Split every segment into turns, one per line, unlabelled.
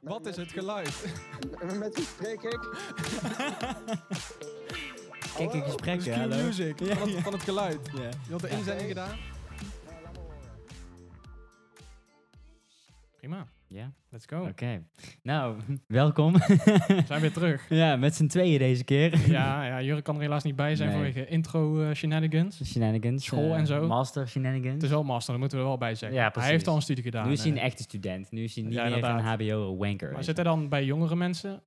Wat is het geluid?
Met wie spreek ik?
Kijk in gesprek,
Cue
hallo.
music
Ja,
van,
ja.
het, van het geluid.
Ja.
Je had de inzending gedaan.
Prima.
Ja,
Let's go.
oké. Nou, welkom.
We zijn weer terug.
ja, met z'n tweeën deze keer.
Ja, ja, Jurk kan er helaas niet bij zijn
Nee.
vanwege intro eh, shenanigans.
Shenanigans.
School
eh,
en zo.
Master shenanigans.
Het is wel master, daar moeten we er wel bij zeggen.
Ja,
hij
precies.
heeft al een studie gedaan.
nu is hij een
eh.
echte student. Nu is hij niet
Ja,
meer een
inderdaad.
HBO-wanker.
Maar zit hij dan bij jongere mensen?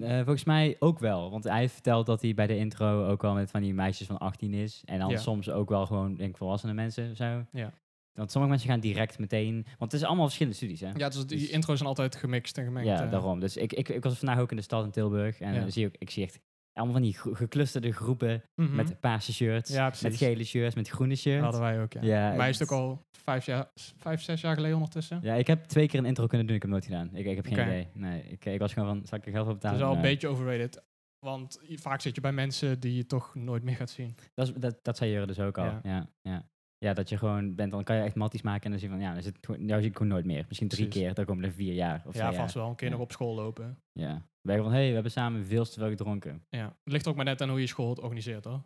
Eh, volgens mij ook wel. Want hij vertelt dat hij bij de intro ook wel met van die meisjes van 18 is. En dan
Ja.
soms ook wel gewoon, denk ik, volwassene mensen of zo.
Ja.
Want sommige mensen gaan direct meteen... Want het is allemaal verschillende studies, hè?
Ja, dus die
Dus-
intro's zijn altijd gemixt en gemengd.
Ja,
eh.
daarom. Dus ik, ik, ik was vandaag ook in de stad in Tilburg. En
Ja.
dan zie ik, ik zie echt allemaal van die gro- geclusterde groepen
Mhm.
met paarse shirts.
ja, precies.
Met gele shirts, met groene
Dat
shirts.
hadden wij ook, ja.
Ja,
Bij is het
het-
ook al vijf, jaar, vijf zes jaar geleden ondertussen.
Ja, ik heb twee keer een intro kunnen doen, ik heb het nooit gedaan. Ik, ik heb geen
Oké.
idee. Nee, ik, ik was gewoon van, zal ik er geld voor
het
betalen?
is al een
Nee.
beetje overrated. Want i- vaak zit je bij mensen die je toch nooit meer gaat zien.
Dat, is- dat, dat zei Jure dus ook al.
Ja.
Ja. Ja, ja. dat je gewoon bent, dan kan je echt matties maken en dan zie je van, ja, dan zit, het gewoon- jou zie ik gewoon nooit meer. Misschien drie
Precies.
keer, dan komen er vier jaar of
ja,
twee
vast
jaar.
wel. Een keer
Ja.
nog op school lopen.
Ja. Ben je van, hé, hey, we hebben samen veel te veel gedronken.
Ja. Het ligt ook maar net aan hoe je school het organiseert, hoor.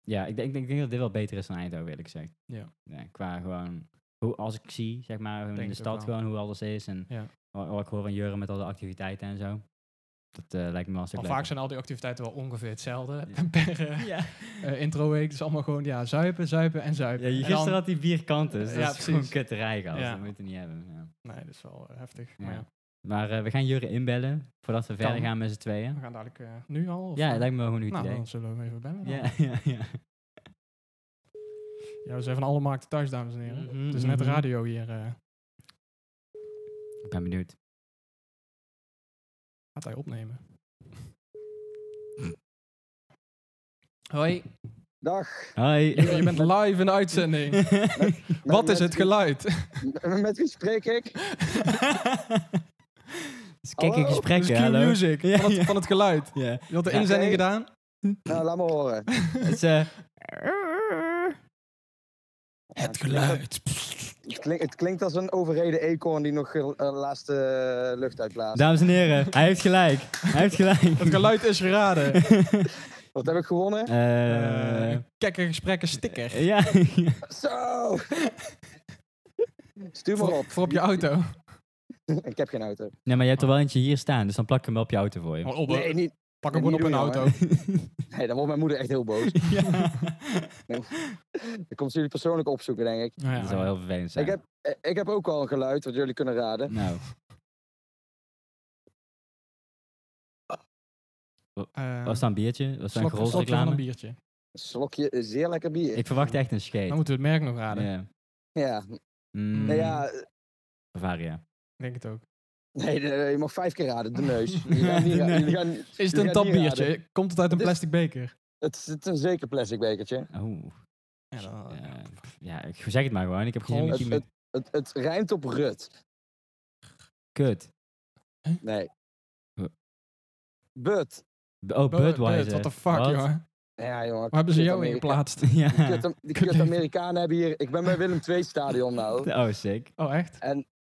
Ja, ik denk, ik denk, ik denk dat dit wel beter is dan Eindhoven, eerlijk gezegd.
Ja.
qua gewoon, hoe, als ik zie, zeg maar,
Denk
in de
het ook
stad
wel.
gewoon hoe alles is en
Ja.
wat, wat ik hoor van Jure met al de activiteiten en zo. Dat eh, lijkt me wel een stuk
Maar vaak zijn al die activiteiten wel ongeveer hetzelfde.
Ja.
Per eh,
Ja.
eh, introweek. Dus allemaal gewoon ja, zuipen, zuipen en zuipen.
Ja, je-
En dan-
gisteren had hij vier kanten, dus
Ja,
dat is
precies.
gewoon kutterij gehad.
Ja.
Dat moet je niet hebben. Ja.
Nee, dat is wel eh, heftig.
Ja.
Maar ja,
Maar eh, we gaan Jurre inbellen, voordat we verder
Kan.
gaan met z'n tweeën.
we gaan dadelijk eh, nu al. of,
Ja,
eh,
dat lijkt me wel gewoon een goed
Nou,
idee.
dan zullen we hem even bellen. dan.
Ja, ja, ja.
Ja, we zijn van alle markten thuis, dames en heren.
Mhm,
Het is net
mhm.
radio hier. eh.
Ik ben benieuwd.
gaat hij opnemen? Hoi.
Dag.
Hoi.
Je bent live in de uitzending.
Wat is het
Nou, met wie-
geluid?
Met wie spreek ik?
Dus kijk in
Oh,
Hallo,
gesprek,
dus
hè,
cue
hallo.
music
Ja,
van,
ja.
het, van het geluid.
Ja.
Je had de
Ja,
inzending
oké.
gedaan.
Nou, laat me horen.
Het is, eh,
Het geluid.
Het, klink- het klinkt als een overreden eekhoorn die nog eh, eh, laatste eh, lucht uitblaast.
dames en heren, hij heeft gelijk. Hij heeft gelijk.
Het geluid is geraden.
Wat heb ik gewonnen?
Eh,
Eh Kekker gesprekken sticker.
ja.
Zo! Stuur maar op.
Voor op je auto.
Ik heb geen auto.
Nee, maar je hebt er wel eentje hier staan, dus dan plak ik hem wel op je auto voor je.
Gewoon op, eh,
Nee, niet.
pak
nee,
hem gewoon
niet
op een
doen,
auto.
Nee, dan wordt mijn moeder echt heel boos.
Ja.
Dan komt ze jullie persoonlijk opzoeken, denk ik.
Nou
Dat zou wel heel vervelend zijn.
Ik, heb, eh, ik heb ook al een geluid wat jullie kunnen raden.
Nou,
eh,
was dat een biertje? Was dat een
slok- slokje van
gerolsreclame?
een biertje.
Een slokje eh, zeer lekker bier.
Ik verwacht echt een scheet.
Dan moeten we het merk nog raden.
Ja.
Ja,
Mm,
nou ja, eh,
Bavaria.
Ik denk het ook.
nee, eh, je mag vijf keer raden. De neus. Jullie gaan niet ra-
Nee.
jullie gaan-
Is het
Jullie
een
gaan niet
tapbiertje?
raden.
Komt het uit een
Dus-
plastic beker?
Het is, het is een zeker plastic bekertje.
Oeh.
Ja,
eh, Oh. ja, ik zeg het maar gewoon. Ik heb
Gewoon
geen
Het,
misschien
het, het, het rijmt op rut.
Kut.
Nee.
Huh.
But.
B- Oh, Budweiser.
What the fuck,
Wat?
jongen?
Ja, jongen.
Waar hebben ze
kut
jou in
Amerika-
geplaatst?
Die
Ja.
kut, die kut Amerikanen hebben hier... Ik ben bij Willem II stadion nou.
Oh, sick.
Oh, echt?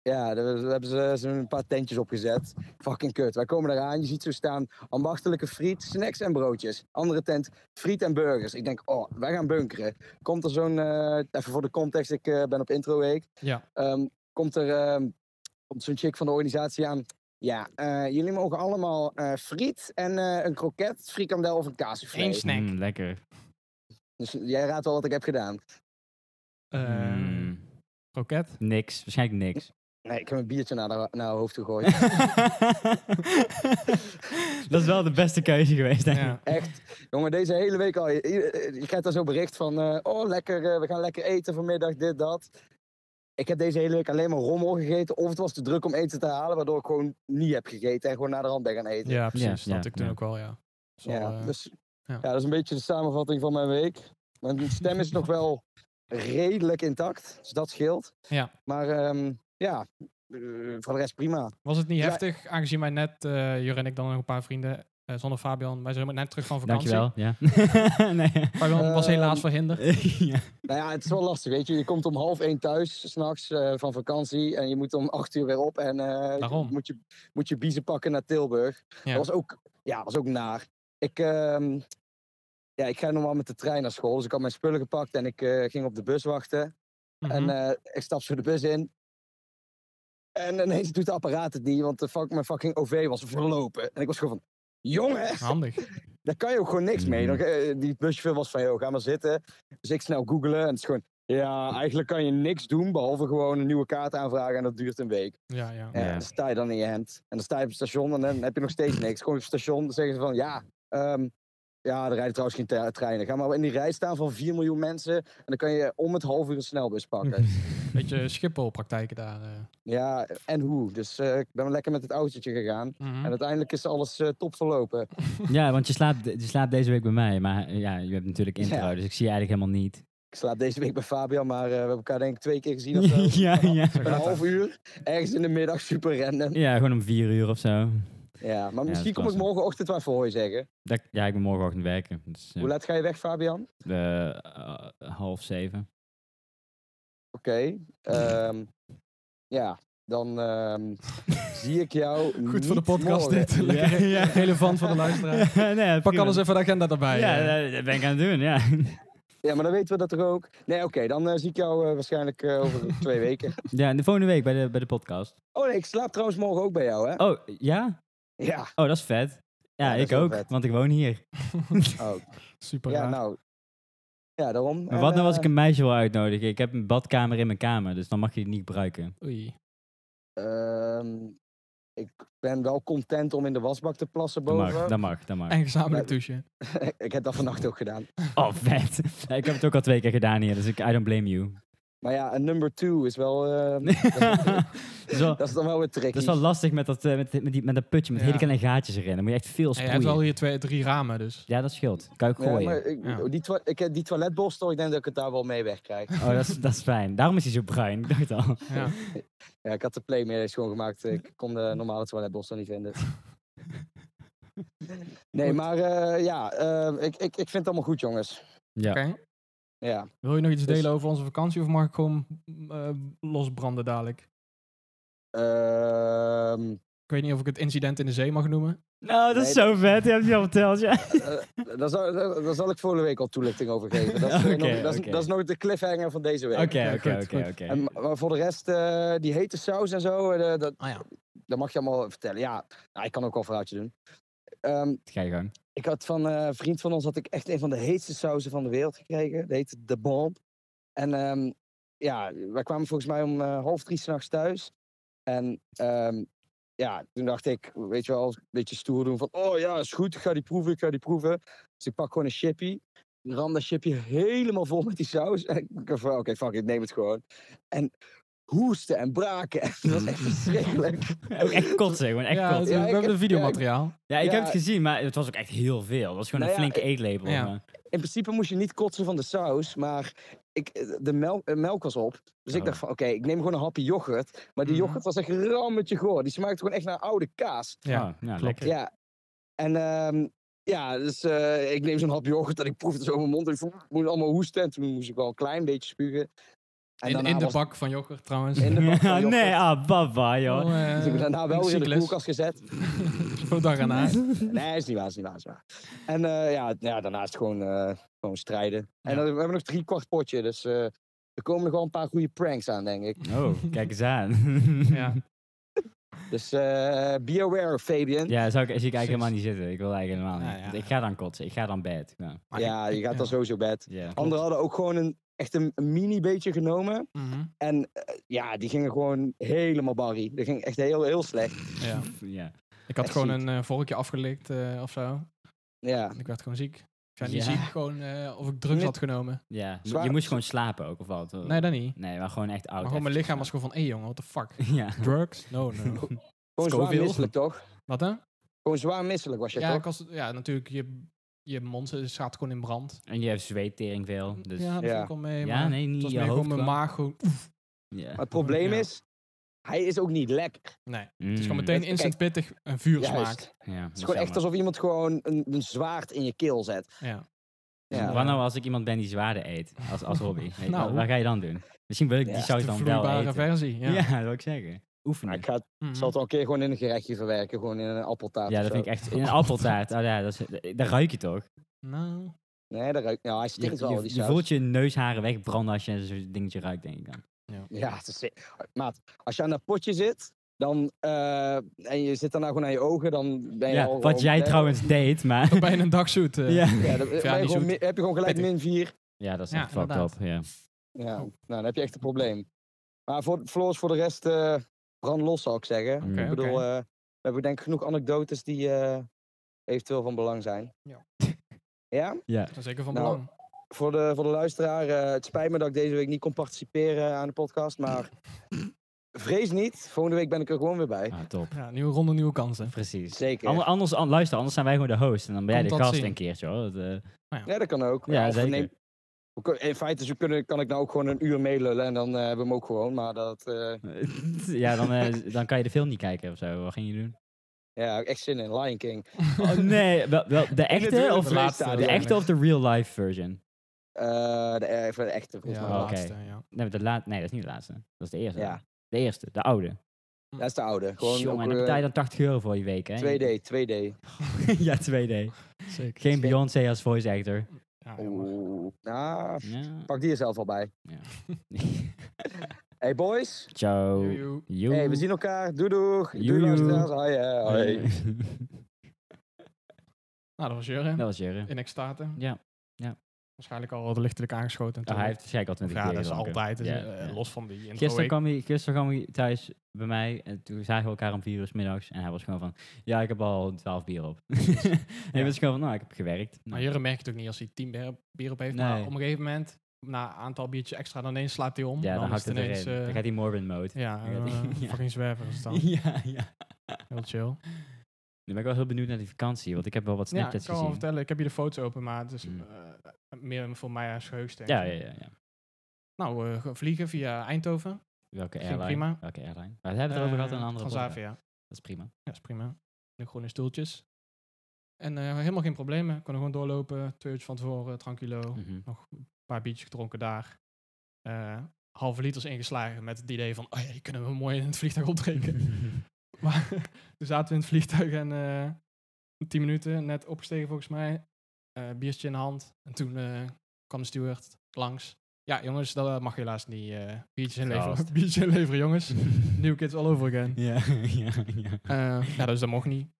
Ja, daar daar hebben ze, ze een paar tentjes opgezet. Fucking kut. Wij komen eraan, je ziet zo staan ambachtelijke friet, snacks en broodjes. Andere tent, friet en burgers. Ik denk, oh, wij gaan bunkeren. Komt er zo'n, eh, even voor de context, ik eh, ben op intro week.
Ja.
Ehm, komt er ehm, komt zo'n chick van de organisatie aan. Ja, eh, jullie mogen allemaal eh, friet en eh, een kroket, frikandel of een
Eén
kaasvlees.
snack.
Mm, lekker.
Dus jij raadt wel wat ik heb gedaan.
Eh,
Mm,
Kroket?
niks. Waarschijnlijk niks.
Nee, ik heb een biertje naar, haar- naar haar hoofd gegooid.
dat is wel de beste keuze geweest, denk ik.
Ja.
Echt. Jongen, deze hele week al. Je, je- je krijgt daar zo bericht van... eh, oh, lekker, eh, we gaan lekker eten vanmiddag, dit, dat. Ik heb deze hele week alleen maar rommel gegeten. Of het was te druk om eten te halen, waardoor ik gewoon niet heb gegeten. En gewoon naar de rand ben gaan eten.
Ja, precies.
ja,
dat ik toen
ja.
ook wel, ja. Zal,
Ja,
eh,
dus,
ja.
ja. dat is een beetje de samenvatting van mijn week. Mijn stem is nog wel redelijk intact, dus dat scheelt.
Ja.
Maar ehm, ja, eh, voor de rest prima.
Was het niet
Ja.
heftig, aangezien wij net, eh Jur en ik dan nog een paar vrienden, eh, zonder Fabian. Wij zijn helemaal net terug van vakantie.
Dankjewel. Ja. nee.
Fabian was
Ehm,
helaas verhinderd.
ja.
Nou ja, het is wel lastig, weet je. Je komt om half één thuis, s'nachts, eh van vakantie. En je moet om acht uur weer op. En eh,
Daarom.
moet je, moet je biezen pakken naar Tilburg.
Ja.
Dat was ook, ja, was ook naar. Ik, ehm, ja, ik ga normaal met de trein naar school. Dus ik had mijn spullen gepakt en ik eh, ging op de bus wachten. En
Mhm.
eh, ik stap zo de bus in. En ineens doet de apparaat het niet, want de fuck, mijn fucking OV was verlopen. En ik was gewoon van, jongen!
Handig.
Daar kan je ook gewoon niks mee.
Mhm.
Dan, eh, die buschauffeur was van, joh, ga maar zitten. Dus ik snel googelen en het is gewoon... Ja, eigenlijk kan je niks doen behalve gewoon een nieuwe kaart aanvragen en dat duurt een week.
Ja, ja.
En
Ja.
dan sta je dan in je hand. En dan sta je op het station en dan heb je nog steeds niks. Gewoon op het station dan zeggen ze van, ja, ehm, ja, er rijden trouwens geen tre- treinen. Ga maar in die rij staan van 4 miljoen mensen en dan kan je om het half uur een snelbus pakken.
Beetje Schiphol-praktijken daar. eh.
ja, en hoe. Dus eh, ik ben lekker met het autootje gegaan.
Mhm.
En uiteindelijk is alles eh, top verlopen.
ja, want je slaapt, je slaapt deze week bij mij. Maar eh, ja, je hebt natuurlijk intro,
Ja.
dus ik zie je eigenlijk helemaal niet.
Ik slaap deze week bij Fabian, maar eh, we hebben elkaar denk ik twee keer gezien of zo.
ja, ja.
Zo
Een
gaat dat.
half uur, ergens in de middag, super random.
ja, gewoon om vier uur of zo.
Ja, maar
dat
misschien kom ik
was hem.
morgenochtend wat voor je zeggen.
Dat, ja, ik ben morgenochtend werken. Dus, eh,
Hoe laat ga je weg, Fabian?
eh, eh, half zeven.
Oké. ehm, ja, dan ehm, zie ik jou
Goed voor de
niet
podcast
morgen.
dit. Lekker relevant voor de luisteraar.
nee,
Pak
prima.
alles even de agenda erbij.
Ja,
eh.
eh, dat ben ik aan het doen, ja.
Ja, maar dan weten we dat er ook. Nee, oké, dan eh, zie ik jou eh, waarschijnlijk eh, over twee weken.
ja, en de volgende week bij de, bij de podcast.
Oh nee, ik slaap trouwens morgen ook bij jou, hè?
Oh, ja?
Ja.
Oh, dat is vet. Ja,
Ja, dat
ik
is wel
ook,
vet.
want ik woon hier.
Oh,
Super
ja,
raar.
nou. Ja, daarom.
Maar
En,
wat nou als
eh,
ik een meisje wil uitnodigen? Ik heb een badkamer in mijn kamer, dus dan mag je die niet gebruiken.
Oei.
ehm, ik ben wel content om in de wasbak te plassen
Dat
boven.
mag, dat mag, dat mag.
En gezamenlijk douchen.
ik heb dat vannacht ook gedaan.
Oh, vet. Ja, ik heb het ook al twee keer gedaan hier, dus ik, I don't blame you.
Maar ja, een number two is wel. ehm,
dat, is wel,
dat is dan wel weer tricky.
dat is wel lastig met dat, eh, met, met, die, met dat putje met
Ja.
hele kleine gaatjes erin. Dan moet je echt veel
Hij heeft
sproeien.
wel hier twee, drie ramen, dus.
Ja, dat scheelt. Kan je ook
Ja,
gooien.
maar ik,
Ja.
die, toa- ik heb die toiletborstel, ik denk dat ik het daar wel mee wegkrijg.
Oh, dat is, dat is fijn. Daarom is hij zo bruin. Ik dacht al.
Ja.
Ja, ik had de playmate schoongemaakt. Ik kon de normale toiletborstel niet vinden. Nee,
Goed.
maar eh, ja, eh, ik, ik, ik vind het allemaal goed, jongens.
Ja.
Oké.
Ja.
Wil je nog iets
Dus-
delen over onze vakantie of mag ik gewoon eh, losbranden dadelijk?
Ehm,
Ik weet niet of ik het incident in de zee mag noemen.
Nou, dat is zo vet. Je hebt het al verteld, ja.
eh, daar, zal, daar, daar zal ik volgende week al toelichting over geven. Dat is, eh, nog,
Oké,
dat, is,
oké.
dat is nog de cliffhanger van deze week.
Oké,
Ja,
oké,
goed,
oké,
goed.
oké.
En, maar voor de rest, eh, die hete saus en zo, eh, dat,
Ah ja.
dat mag je allemaal vertellen. Ja, nou, ik kan ook wel een verhaaltje doen. Ehm,
Ga je gang.
Ik had van eh, een vriend van ons had ik echt een van de heetste sauzen van de wereld gekregen. Dat heette De Bomb. En ehm, ja, wij kwamen volgens mij om eh, half drie s'nachts thuis. En ehm, ja, toen dacht ik, weet je wel, een beetje stoer doen van... Oh ja, is goed, ik ga die proeven, ik ga die proeven. Dus ik pak gewoon een chippy. Ik Ram dat chippy helemaal vol met die saus. En ik dacht van, oké, fuck, ik neem het gewoon. En hoesten en braken. En dat was echt verschrikkelijk.
Ook Oh, echt kotsen, gewoon echt
ja,
kotsen.
we
Ja, ik
hebben
heb-
de videomateriaal.
Ja, ik
Ja.
heb het gezien, maar het was ook echt heel veel. Het was gewoon
Nou
een
ja,
flinke eetlabel.
ja.
maar-
in principe moest je niet kotsen van de saus, maar ik, de melk, eh, melk was op. Dus ik
Oh.
dacht van, oké, ik neem gewoon een hapje yoghurt. Maar die
Mhm.
yoghurt was echt rammetje goor. Die smaakte gewoon echt naar oude kaas.
Ja.
Oh, nou,
klopt.
lekker.
Ja. En ehm, ja, dus eh, ik neem zo'n hapje yoghurt en ik proefde het zo in mijn mond. En ik voel- moest allemaal hoesten. En toen moest ik wel een klein beetje spugen. En
In,
daarna
in de
was-
bak van yoghurt trouwens.
In de bak van
Ja,
yoghurt.
nee, ah, baba, joh.
Oh, eh,
Dus ik heb daarna wel
een
weer in de
cyclus.
koelkast gezet.
Voor dag erna.
Nee, is niet waar, is niet waar. Is niet waar. En eh, ja, ja, daarnaast gewoon, eh, gewoon strijden. En
Ja.
dan, we hebben nog drie kwart potje, dus eh, er komen nog wel een paar goede pranks aan, denk ik.
Oh, kijk eens aan.
Ja.
Dus eh, be aware, Fabian. Ja,
Ja, zou ik, zie ik eigenlijk
Precies.
helemaal niet zitten. Ik wil eigenlijk helemaal niet.
Nou ja.
Want Ik ga dan kotsen. Ik ga dan bed. Ja.
Maar ik-
je gaat
ja.
dan sowieso bed.
Ja.
Anderen hadden ook gewoon een, echt een, een mini beetje genomen.
Mhm,
En eh, ja, die gingen gewoon helemaal barry. Dat ging echt heel, heel slecht.
ja.
Ja.
Ik had
Echt
gewoon
ziek.
een eh, vorkje afgelikt eh, of zo.
Ja.
En ik werd gewoon ziek. Ik werd niet
Ja.
ziek, gewoon eh, of ik drugs
Nee. Oh.
had genomen.
ja. Je-
Zwaar-
Je moest gewoon slapen ook, of wat?
Nee, dat
Oh,
niet.
Nee, maar gewoon echt oud.
Maar gewoon mijn
even
lichaam was gewoon van, hé jongen, what the fuck.
slapen. Ja.
Drugs? No, no.
Gewoon zwaar
Scoville.
misselijk, toch?
Wat hè?
Gewoon zwaar misselijk was je,
Ja,
toch?
ik was, ja, natuurlijk, je, je mond staat gewoon in brand.
En je hebt zweettering veel. Dus...
ja, dat
Ja.
ja. ik al mee.
Ja,
maar
nee,
Het
niet
was
je
meer gewoon
hoofd.
mijn
wel.
maag. Gewoon,
Ja.
Maar het probleem
Ja.
is, Hij is ook niet lekker.
Nee. Het
Mm,
is gewoon meteen
Kijk,
instant pittig eh, en vuursmaak.
Juist.
Ja,
Het is gewoon echt alsof iemand gewoon een, een zwaard in je keel zet.
Ja.
Ja.
Wat nou als ik iemand ben die zwaarden eet als, als hobby? Weet je,
Nou.
wat, wat ga je dan doen? Misschien wil ik
Ja,
die saus
de
dan wel
vloeibare
eten.
versie. Ja.
ja. dat wil ik zeggen.
Maar
Oefenen.
ik ga het,
Mhm.
ik zal het wel een keer gewoon in een gerechtje verwerken. Gewoon in een appeltaart
Ja,
of
dat
zo.
vind ik echt... In een appeltaart, oh ja, dat, is, dat ruik je toch?
Nou,
Nee, dat ruikt... Nou, hij
Je,
stinkt wel,
je-
die
je
saus.
voelt je neusharen wegbranden als je zo'n dingetje ruikt, denk ik dan.
Ja, het is... maat, als je aan dat potje zit... Dan, eh, en je zit daarna gewoon aan je ogen, dan ben je
Ja,
al...
wat
gewoon-
jij
nee,
trouwens deed, maar...
dan ben je een dagzoet. eh.
ja.
Ja, dan ben je
Ja, niet
gewoon
zoet.
mi- heb je gewoon gelijk
Pittig.
min 4.
ja, dat is
Ja,
echt fucked
inderdaad.
up. Ja.
Ja,
Oh.
nou, dan heb je echt een probleem. Maar voor, Floors, voor de rest, eh brand los zou ik zeggen.
Mm.
Ik bedoel, eh, we hebben denk ik genoeg anekdotes die eh, eventueel van belang zijn.
Ja.
ja?
ja.
Dat is zeker van
Nou,
belang.
Voor de, voor de luisteraar, eh, het spijt me dat ik deze week niet kon participeren aan de podcast, maar vrees niet. Volgende week ben ik er gewoon weer bij.
Ah, top.
Ja, nieuwe ronde, nieuwe kansen.
Precies.
Zeker.
Ander- Anders, an- luister, anders zijn wij gewoon de host en dan ben jij
Komt
de
dat
gast
zien.
een keertje hoor. Dat, eh,
Ja, dat kan ook.
Ja,
of we
zeker.
nemen- we kun- in feite zo kunnen, kan ik nou ook gewoon een uur meelullen en dan eh, hebben we hem ook gewoon. Maar dat, eh,
ja, dan, eh, dan kan je de film niet kijken of zo. Wat ging je doen?
ja, ik heb echt zin in. Lion King.
Oh, nee, wel, wel, de echte
duurde
of
het laatste
de, echte of de real life version?
Eh, de, eh, even de echte. volgens
Ja,
mij.
Oh, oké.
laatste, ja.
Nee, de laat, nee, dat is niet de laatste. Dat is de eerste.
Ja.
De eerste, de oude.
Dat is de oude. Gewoon
Jongen,
ook,
dan
eh,
betaal je dan 80 euro voor die week, hè?
2D, 2D.
ja, 2D.
Zeker. Oh,
Geen Beyoncé als voice actor.
Ja, jammer.
Oeh. Nou,
Ja.
pak die er zelf al bij. Hey boys.
Ciao.
Joejoe.
Joe.
Hey, we zien elkaar. Doei doeg. Doei
Joejoe.
luisteraars. Hoi, eh, hoi.
Nou, dat was Jurre.
dat was Jurre.
In extate.
Ja. Ja.
Waarschijnlijk al wel lichtelijk aangeschoten. en
Oh, hij
toen-
heeft waarschijnlijk al 20
ja,
keer
dat is
gedronken.
altijd. dus,
Ja,
eh,
ja.
Los van die intro.
Gisteren
week.
kwam, hij, gisteren kwam hij thuis bij mij en toen zagen we elkaar om vier uur 's middags. En hij was gewoon van, ja, ik heb al 12 bier op. hij was gewoon van, nou, ik heb gewerkt. Nou,
Maar Jurre merkt ook niet als hij tien bier, bier op heeft. Maar
Nee.
op een gegeven moment, na een aantal biertjes extra, dan ineens slaat hij om.
ja,
en
dan
dan is
hakt
het
het erin.
ineens...
dan
eh,
gaat hij Morbin mode.
ja,
dan gaat hij-
eh,
ja.
fucking zwerver is het dan.
ja, ja.
Heel chill.
Nu ben ik wel heel benieuwd naar die vakantie, want ik heb wel wat
Ja, ik
Snapchats
kan wel
gezien.
vertellen. Ik heb hier de foto's open, maar het is
Mm.
eh, meer voor mij als geheugen. denk
Ja,
ik.
ja, ja, ja.
Nou, eh, vliegen via Eindhoven.
Welke
Ging
airline?
prima.
Welke airline? Maar we hebben het over gehad in een
Eh,
andere podcast.
Transavia.
Dat is prima.
Ja, is prima. De groene stoeltjes. En eh, helemaal geen problemen. Konden gewoon doorlopen. Twee uurtjes van tevoren, eh, tranquilo. Een
Mhm.
paar biertjes gedronken daar. Eh, halve liters ingeslagen met het idee van... Oh ja, die kunnen we mooi in het vliegtuig opdrinken. maar toen zaten we in het vliegtuig en... eh tien minuten, net opgestegen volgens mij. Eh, biertje in de hand. En toen eh, kwam de steward langs. Ja, jongens, dat eh, mag helaas niet. eh, biertjes inleveren.
Gast.
biertje inleveren, jongens. New kids all over again.
ja, ja, ja.
Eh, ja, dus dat mocht niet. Maar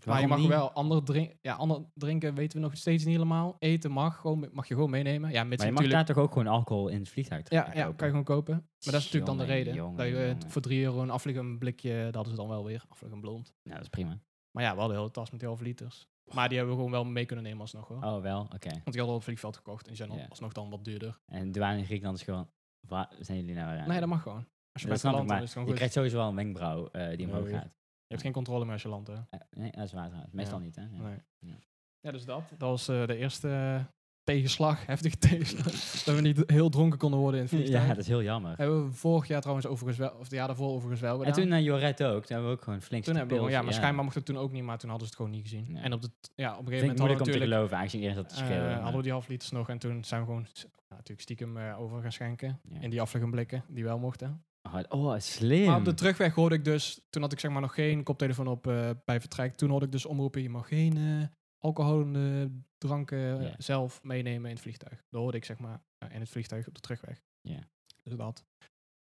je
Waarom
mag
niet?
wel ander, drink, ja, ander drinken, weten we nog steeds niet helemaal. Eten mag, gewoon, mag je gewoon meenemen. Ja, mits
Maar je mag
natuurlijk.
daar toch ook gewoon alcohol in het vliegtuig
Ja,
kopen?
ja, kan je gewoon kopen. Maar dat is natuurlijk dan de
Jongen,
reden.
jongen,
dat je eh,
jongen.
voor 3 euro een afliggen blikje, dat hadden ze dan wel weer. Afliggen blond.
Nou, dat is prima.
Maar ja, we hadden de hele tas met half liters. Maar die hebben we gewoon wel mee kunnen nemen alsnog hoor.
Oh, wel? Oké.
Want die hadden we op het vliegveld gekocht en die zijn dan
Ja.
alsnog dan wat duurder.
En de douane in Griekenland is gewoon... Waar zijn jullie nou aan het
Nee, dat mag gewoon. Als
Dat
je bij
snap
land
ik,
dan
maar
is het gewoon
je
goed.
krijgt sowieso wel een wenkbrauw eh, die omhoog
Nee.
gaat.
Je hebt geen controle meer als je landt hè.
Eh, nee, dat is waar trouwens. Meestal
Ja.
niet, hè? Ja.
Nee.
Ja.
Ja, dus dat. Dat was eh, de eerste eh, tegenslag, heftige tegenslag. dat we niet heel dronken konden worden in het vliegtuig.
ja, dat is heel jammer.
Hebben we vorig jaar trouwens overigens wel, of het jaar daarvoor overigens wel gedaan.
En toen naar Joret ook. Toen hebben we ook gewoon flink
Toen
zitten
hebben we, ja,
pilsen,
maar schijnbaar mocht het toen ook niet, maar toen hadden ze het gewoon niet gezien.
Nee.
En op, de, t- ja, op een gegeven
Vind ik
moment
moeilijk om
hadden we
te
natuurlijk,
geloven, aangezien eerst dat te
eh,
schelen. maar-
hadden we die half liters nog en toen zijn we gewoon s- nou, natuurlijk stiekem eh, over gaan schenken.
Ja.
In die afleggen blikken, die wel mochten.
Oh, Oh, slim.
Maar op de terugweg hoorde ik dus, toen had ik zeg maar nog geen koptelefoon op eh, bij vertrek. Toen hoorde ik dus omroepen, je mag geen eh alcoholende dranken eh,
Ja.
zelf meenemen in het vliegtuig. Dat hoorde ik zeg maar eh, in het vliegtuig op de terugweg.
Ja.
Dus dat.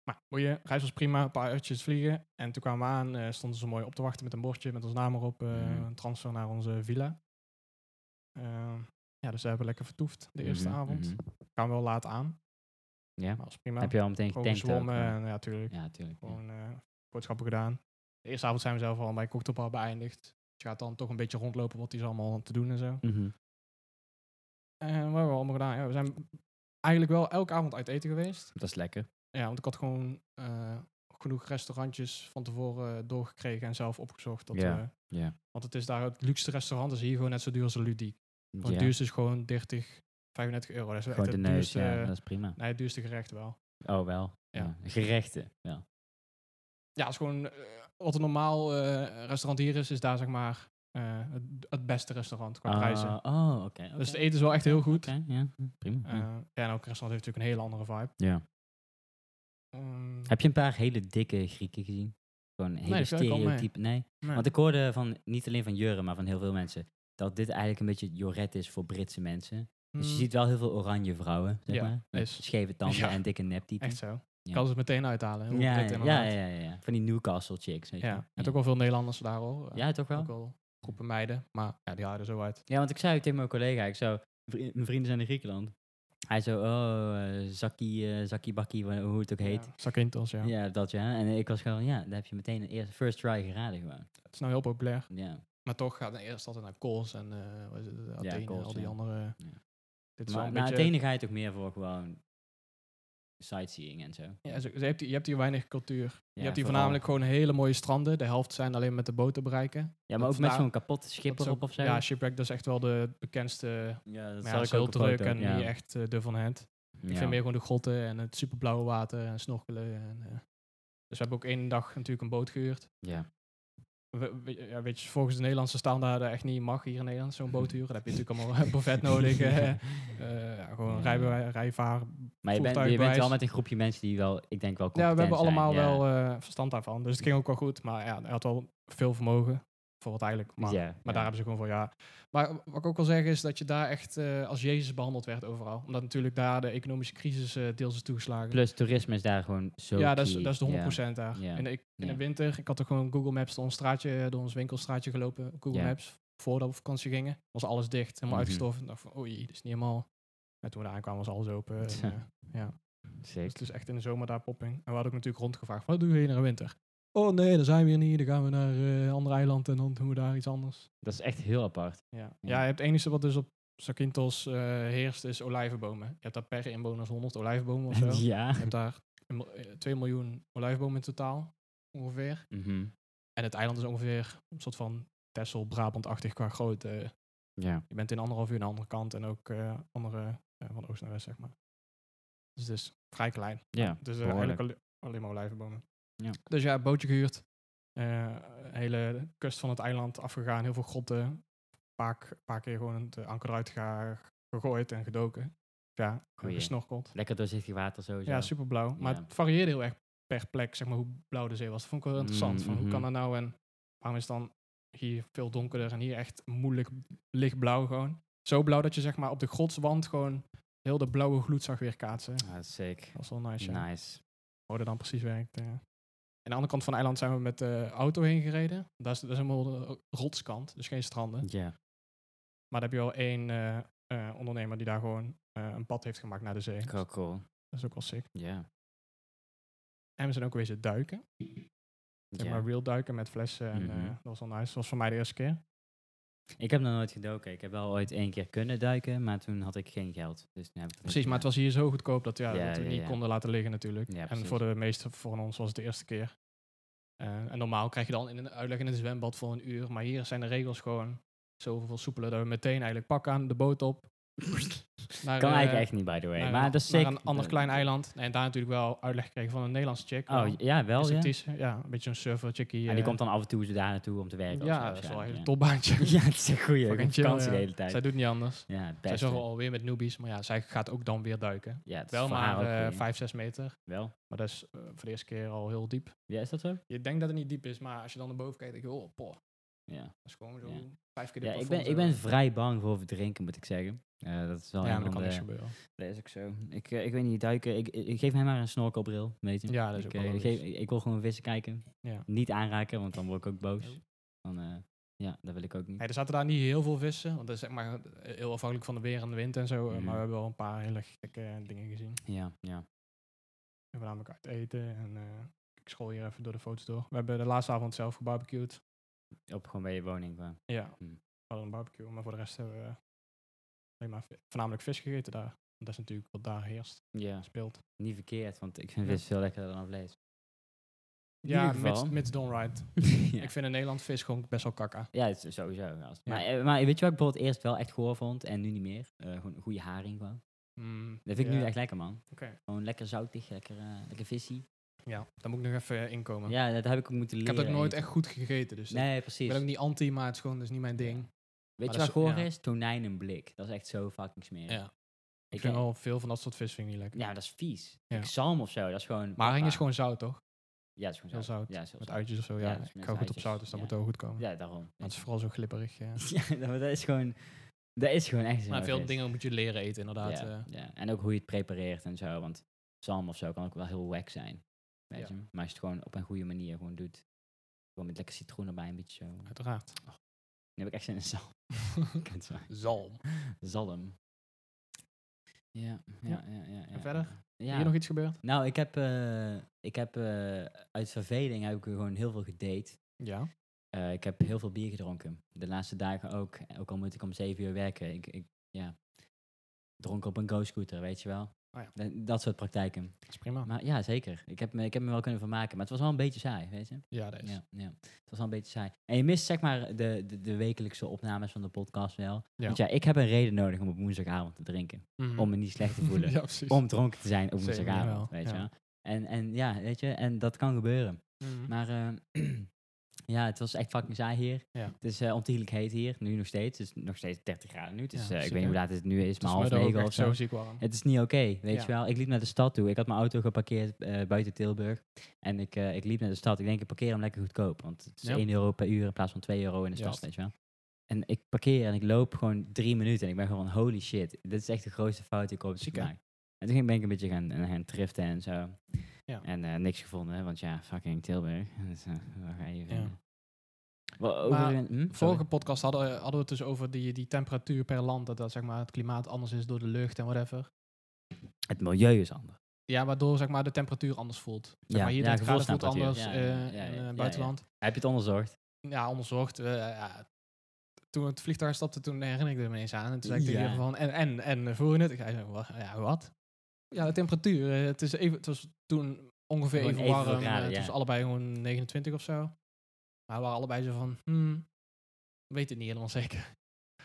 Maar boeien, reis was prima, een paar uurtjes vliegen. En toen kwamen we aan, eh, stonden ze mooi op te wachten met een bordje met ons naam erop. eh,
Mhm.
Een transfer naar onze villa. Eh, ja, dus we hebben lekker vertoefd de eerste
Mhm,
avond.
mhm.
Kwamen wel laat aan,
Ja.
maar was prima.
Heb je al meteen
Gewoon
getankt ook?
gezwommen
maar-
en ja, natuurlijk.
Ja, natuurlijk. ja.
Gewoon eh, boodschappen gedaan. De eerste avond zijn we zelf al bij een cocktailbar beëindigd. Dus je gaat dan toch een beetje rondlopen wat is allemaal te doen en zo.
Mhm.
En Eh, wat hebben we allemaal gedaan? Ja, we zijn eigenlijk wel elke avond uit eten geweest.
Dat is lekker.
Ja, want ik had gewoon eh, genoeg restaurantjes van tevoren eh, doorgekregen en zelf opgezocht. Dat
Ja,
we-
ja.
Want het is daar het luxuste restaurant, is hier gewoon net zo duur als de Ludiek. Want
Ja,
het duurste is gewoon 30, 35 euro. Dat is wel
Gewoon
echt
de
het
neus,
duurste,
ja. Dat is prima.
nee, het duurste gerecht wel.
Oh, wel.
Ja.
Ja. Gerechten, wel.
ja, het is gewoon eh, wat een normaal eh, restaurant hier is, is daar zeg maar eh, het, het beste restaurant qua prijzen.
Ah, oh, oké.
Dus het
oké.
eten is wel echt heel goed.
Oké, ja. Prima.
Eh, ja, en elk restaurant heeft natuurlijk een hele andere vibe.
ja.
Ehm,
Heb je een paar hele dikke Grieken gezien? Gewoon hele
dat viel eigenlijk wel mee.
stereotype. Nee.
nee.
Want ik hoorde van niet alleen van Jurre, maar van heel veel mensen. Dat dit eigenlijk een beetje het Joret is voor Britse mensen. Dus je
Mm,
ziet wel heel veel oranje vrouwen, zeg
Ja,
maar. Met
is-
scheve tanden
Ja.
en dikke neptieten.
Echt zo.
Ja.
Kan ze het meteen uithalen. Heel
Ja,
Brit
ja, ja,
inderdaad.
ja, ja, ja. Van die Newcastle chicks, weet je.
Ja, en ook wel veel Nederlanders daar hoor. Eh,
Ja, toch wel?
Ook wel groepen meiden, maar ja, die halen er zo uit.
Ja, want ik zei ook tegen mijn collega, ik zo, "Vri- mijn vrienden zijn in Griekenland. Hij zo, oh, eh, zakkie, eh, zakkie bakkie, wa- hoe het ook heet.
Ja, Zakynthos, ja.
Ja. dat ja. En ik was gewoon, ja, daar heb je meteen een eerste first try geraden gewoon.
Het is nou heel populair.
Ja.
Maar toch gaat het eerst altijd naar Kools en eh, wat is het, Athene,
Kools,
al die
ja.
andere.
Ja.
Dit is wel
Maar
een
na
beetje...
Athene ga je toch meer voor gewoon sightseeing en zo.
Ja, zo- je, hebt hier, je hebt hier weinig cultuur. je hebt hier
vooral.
voornamelijk gewoon hele mooie stranden. De helft zijn alleen met de boot te bereiken.
Ja, maar
dat
ook met
daar-
zo'n kapot schip
Dat is ook-
erop of zo.
Ja, Shipwreck, dat is echt wel de bekendste.
Ja, dat
Maar ja, dat is heel druk en niet echt eh, de van hand. Ik vind meer gewoon de grotten en het superblauwe water en snorkelen. En, eh. Dus we hebben ook één dag natuurlijk een boot gehuurd.
Ja.
We, we- ja, weet je, volgens de Nederlandse standaarden echt niet mag hier in Nederland zo'n boot huren. Dan heb je natuurlijk allemaal een buffet nodig. eh, eh, ja, gewoon
Ja.
rijbewa- rijvaar.
Maar je bent, je bent
voertuigbewijs.
wel met een groepje mensen die wel, ik denk wel
Ja, we hebben
competent
allemaal
zijn, ja.
wel eh, verstand daarvan. Dus het ging ook wel goed. Maar ja, hij had wel veel vermogen. Voor wat eigenlijk. Maar,
Ja,
maar
ja.
daar hebben ze gewoon voor ja. Maar wat ik ook wil zeggen is dat je daar echt eh, als Jezus behandeld werd overal. Omdat natuurlijk daar de economische crisis eh, deels is toegeslagen.
Plus toerisme is daar gewoon zo
ja, dat is,
key.
dat is de
Ja.
100% daar.
Ja.
In, de, ik- in
Ja.
de winter, ik had er gewoon Google Maps door ons straatje, eh, door ons winkelstraatje gelopen. Google
Ja.
Maps, voordat we op vakantie gingen, was alles dicht, helemaal
Mhm.
uitgestorven. Ik dacht van, oei, dit is niet helemaal... En toen we daar aankwamen was alles open. En,
Tja.
eh, dus
Zeker.
het is echt in de zomer daar popping. En we hadden ook natuurlijk rondgevraagd, wat doen we hier in de winter? Oh nee, dan zijn we hier niet, dan gaan we naar eh, een ander eiland en dan doen we daar iets anders.
Dat is echt heel apart.
Ja,
Ja.
ja. je hebt het enige wat dus op Zakynthos eh, heerst, is olijvenbomen. Je hebt daar per inwoner 100 olijfbomen of zo.
ja.
Je hebt daar een mil- eh, 2 miljoen olijfbomen in totaal, ongeveer.
Mhm.
En het eiland is ongeveer een soort van Texel, Brabant-achtig qua grootte.
Ja.
Je bent in anderhalf uur aan de andere kant en ook eh, andere eh, van oost naar west, zeg maar. Dus het is vrij klein.
Ja.
Dus eh,
Behoorlijk.
eigenlijk alle- alleen maar olijvenbomen.
Ja.
Dus ja, bootje gehuurd. Eh, hele kust van het eiland afgegaan, heel veel grotten. Een paar, k- paar keer gewoon het eh, anker eruit ga- gegooid en gedoken. Ja,
Goeie.
gesnorkeld.
Lekker doorzichtig water sowieso.
Ja, super blauw. Maar
Ja.
het varieerde heel erg per plek, zeg maar, hoe blauw de zee was. Dat vond ik wel interessant. van, hoe
Mhm.
kan dat nou en waarom is dan hier veel donkerder en hier echt moeilijk lichtblauw gewoon. Zo blauw dat je zeg maar op de grotswand gewoon heel de blauwe gloed zag weerkaatsen. Dat
Ah, dat is sick.
was wel nice, ja.
Nice.
Hoe dat dan precies werkt. ja. Aan de andere kant van het eiland zijn we met de auto heen gereden. Dat is, dat is helemaal de rotskant, dus geen stranden.
Ja.
Maar daar heb je wel één eh, eh, ondernemer die daar gewoon eh, een pad heeft gemaakt naar de zee.
Cool, cool.
Dat is ook wel sick.
Ja.
En we zijn ook wezen duiken. Zeg
Ja.
maar real duiken met flessen. En,
Mhm.
eh, dat was wel nice. Dat was voor mij de eerste keer.
Ik heb nog nooit gedoken. Ik heb wel ooit één keer kunnen duiken, maar toen had ik geen geld. Dus toen heb ik dat
Precies,
niet
maar het
gedaan.
was hier zo goedkoop dat, ja,
Ja,
dat we
ja,
het niet
ja.
konden laten liggen natuurlijk.
Ja,
en
precies.
voor de meeste van ons was het de eerste keer. Eh, en normaal krijg je dan in een uitleg in het zwembad voor een uur. Maar hier zijn de regels gewoon zoveel soepeler dat we meteen eigenlijk pakken aan de boot op. naar,
Kan
eh,
eigenlijk echt niet, by the way.
naar
maar
een,
dat is
naar
sick.
een ander klein eiland. Nee, en daar natuurlijk wel uitleg gekregen van een Nederlandse chick.
Oh,
wel.
ja, wel, ja.
Instructrice, ja, een beetje zo'n surfer chickie.
En die
Dus eh,
komt dan af en toe daar naartoe om te werken.
Ja,
of
dat
zo,
is wel een hele
ja.
topbaantje.
Ja, het is een goeie.
Fucking
Op
chill,
vakantie
ja.
de hele tijd.
Zij doet niet anders.
ja, het
Zij
beste.
zorgen alweer met newbies, maar ja, zij gaat ook dan weer duiken.
Ja, het is
Wel
voor haar ook
maar eh,
goeie.
5, 6 meter.
Wel.
Maar dat is eh, voor de eerste keer al heel diep.
Ja, is dat zo?
Je denkt dat het niet diep is, maar als je dan naar boven kijkt, denk je, oh, poh, dat
Ja.
is gewoon zo
Ja.
vijf keer de
Ja, ik ben,
plafond,
ik
eh.
ben vrij bang voor verdrinken, moet ik zeggen. Eh, dat is wel
Ja,
een
maar dat
van
kan niks
de...
gebeuren.
Dat is ook zo. Ik, eh, ik weet niet, duiken... Ik, ik- ik geef mij maar een snorkelbril, weet je.
Ja, dat
ik,
is ook wel
eh,
logisch.
geef- ik wil gewoon vissen kijken.
Ja. Oh.
Niet aanraken, want dan word ik ook boos. Dan, eh, ja, dat wil ik ook niet.
Hey, er zaten daar niet heel veel vissen, want dat is zeg maar eh, heel afhankelijk van de weer en de wind en zo. eh,
Mhm.
Maar we hebben wel een paar hele gekke eh, dingen gezien.
Ja, ja.
We hebben namelijk uit eten en eh, ik scroll hier even door de foto's door. We hebben de laatste avond zelf gebarbecued.
Op gewoon bij je woning. gewoon.
Ja,
Hmm.
we hadden een barbecue, maar voor de rest hebben we alleen maar vi- voornamelijk vis gegeten daar. Want dat is natuurlijk wat daar heerst,
Ja,
speelt.
niet verkeerd, want ik vind
Ja.
vis veel lekkerder dan vlees. In
Ja,
ieder
mits,
geval.
mits done right.
ja.
Ik vind in Nederland vis gewoon best wel kakka.
Ja, het is sowieso. gast.
Ja.
Maar, eh, maar weet je wat ik bijvoorbeeld eerst wel echt goor vond en nu niet meer? Eh, gewoon een goede haring gewoon.
Mm,
Dat vind ik
ja.
nu echt lekker, man.
Oké.
Gewoon lekker zoutig, lekker, eh, lekker visie.
Ja, daar moet ik nog even eh, inkomen.
Ja, dat heb ik ook moeten
ik
leren.
heb dat nooit
eigenlijk.
echt goed gegeten, dus dat-
Nee,
ik ben
precies.
ook niet anti, maar het is gewoon dus niet mijn ding.
Weet
maar
je
dat
wat
is-
goor
ja.
is? Tonijn en blik. Dat is echt zo fucking smerig.
Ja. Ik
Ik heb-
vind wel veel van dat soort vis vind ik niet lekker.
Ja, dat is vies.
Ja.
Ik zalm of zo, dat is gewoon...
Maring is
hoppa.
gewoon zout, toch?
Ja, dat is gewoon
heel
zout.
zout.
Ja, dat is heel
Met
zout.
uitjes of zo,
Ja,
ja.
dat is
ik
met
hou goed op
uitjes,
zout, dus dat
ja.
moet wel goed komen.
Ja, daarom.
Maar het is vooral zo glibberig, ja.
Ja, dat dat is gewoon... Dat is gewoon echt zo.
Maar veel dingen moet je leren eten,
Ja,
inderdaad. eh.
ja. En ook hoe je het prepareert en zo. Want zalm of zo kan ook wel heel wack zijn. Weet
Ja.
je? Maar als je het gewoon op een goede manier gewoon doet. Gewoon met lekker citroen erbij, een beetje zo. Nu
Uiteraard.
heb ik echt zin in zalm. Ik kan het wel.
Zalm.
Zalm. Ja, ja, ja. ja, ja.
En verder?
Ja.
Hier nog iets gebeurd?
Nou, ik heb, eh, ik heb eh, uit verveling heb ik gewoon heel veel gedate.
Ja.
Eh, ik heb heel veel bier gedronken. De laatste dagen ook. Ook al moet ik om zeven uur werken. Ik, ik ja, dronk op een go-scooter, weet je wel.
Oh ja.
Da- dat soort praktijken.
Dat is prima.
Maar ja, zeker. Ik heb, me, ik heb me wel kunnen vermaken. Maar het was wel een beetje saai, weet je.
Ja, dat is.
Ja, ja, het was wel een beetje saai. En je mist zeg maar de, de, de wekelijkse opnames van de podcast wel.
Ja.
Want ja, ik heb een reden nodig om op woensdagavond te drinken.
Mhm.
Om me niet slecht te voelen.
ja, precies.
Om dronken te zijn op
Zeker
woensdagavond,
wel,
weet je
ja.
wel. En, en ja, weet je, en dat kan gebeuren.
Mhm.
Maar eh, ja, het was echt fucking saai hier.
Ja.
Het is eh ontiegelijk heet hier, nu nog steeds. Het is nog steeds 30 graden nu. Dus
Ja,
eh, ik
precies,
weet niet hoe
hè.
laat het nu is,
Het
maar
is
half
me daar ook
negen
echt
of
zo
zo.
ziek warm.
Het is niet oké, weet je
Ja.
wel. Ik liep naar de stad toe. Ik had mijn auto geparkeerd eh, buiten Tilburg. En ik, eh, ik liep naar de stad. Ik denk, ik parkeer hem lekker goedkoop. Want het is
Ja.
1 euro per uur in plaats van 2 euro in de stad,
Juist.
weet je wel. En ik parkeer en ik loop gewoon drie minuten. En ik ben gewoon van, holy shit. Dit is echt de grootste fout die ik ooit heb
Ziek, hè?
gemaakt. En toen ging- ben ik een beetje gaan, gaan driften en zo.
Ja.
En eh, niks gevonden, hè, want ja, fucking Tilburg. Dus, eh, waar ga je
Ja.
vinden? Wel,
Maar
overigens- hm? Sorry.
Vorige podcast hadden, we- hadden we het dus over die, die temperatuur per land. Dat, dat zeg maar, het klimaat anders is door de lucht en whatever.
Het milieu is anders.
Ja, waardoor zeg maar, de temperatuur anders voelt. Zeg
Ja,
maar, hier
ja,
30 graden voelt anders
gevoelstemperatuur. Ja, ja,
eh,
ja, ja,
in eh,
ja, ja.
buitenland.
Heb je het onderzocht?
ja, onderzocht. eh, ja. Toen we het vliegtuig stapte, toen herinner ik er me eens aan. En toen zei ik tegen
Ja.
iemand van, en, en, en eh, voeren het? Ik zei, wa- ja, wat? Ja, de temperatuur. eh, het, is even, het was toen ongeveer
Gewoon
even warm.
evenveel
eh,
graden,
het
ja.
was allebei gewoon 29 of zo. Maar we waren allebei zo van, hmm, weet het niet helemaal zeker.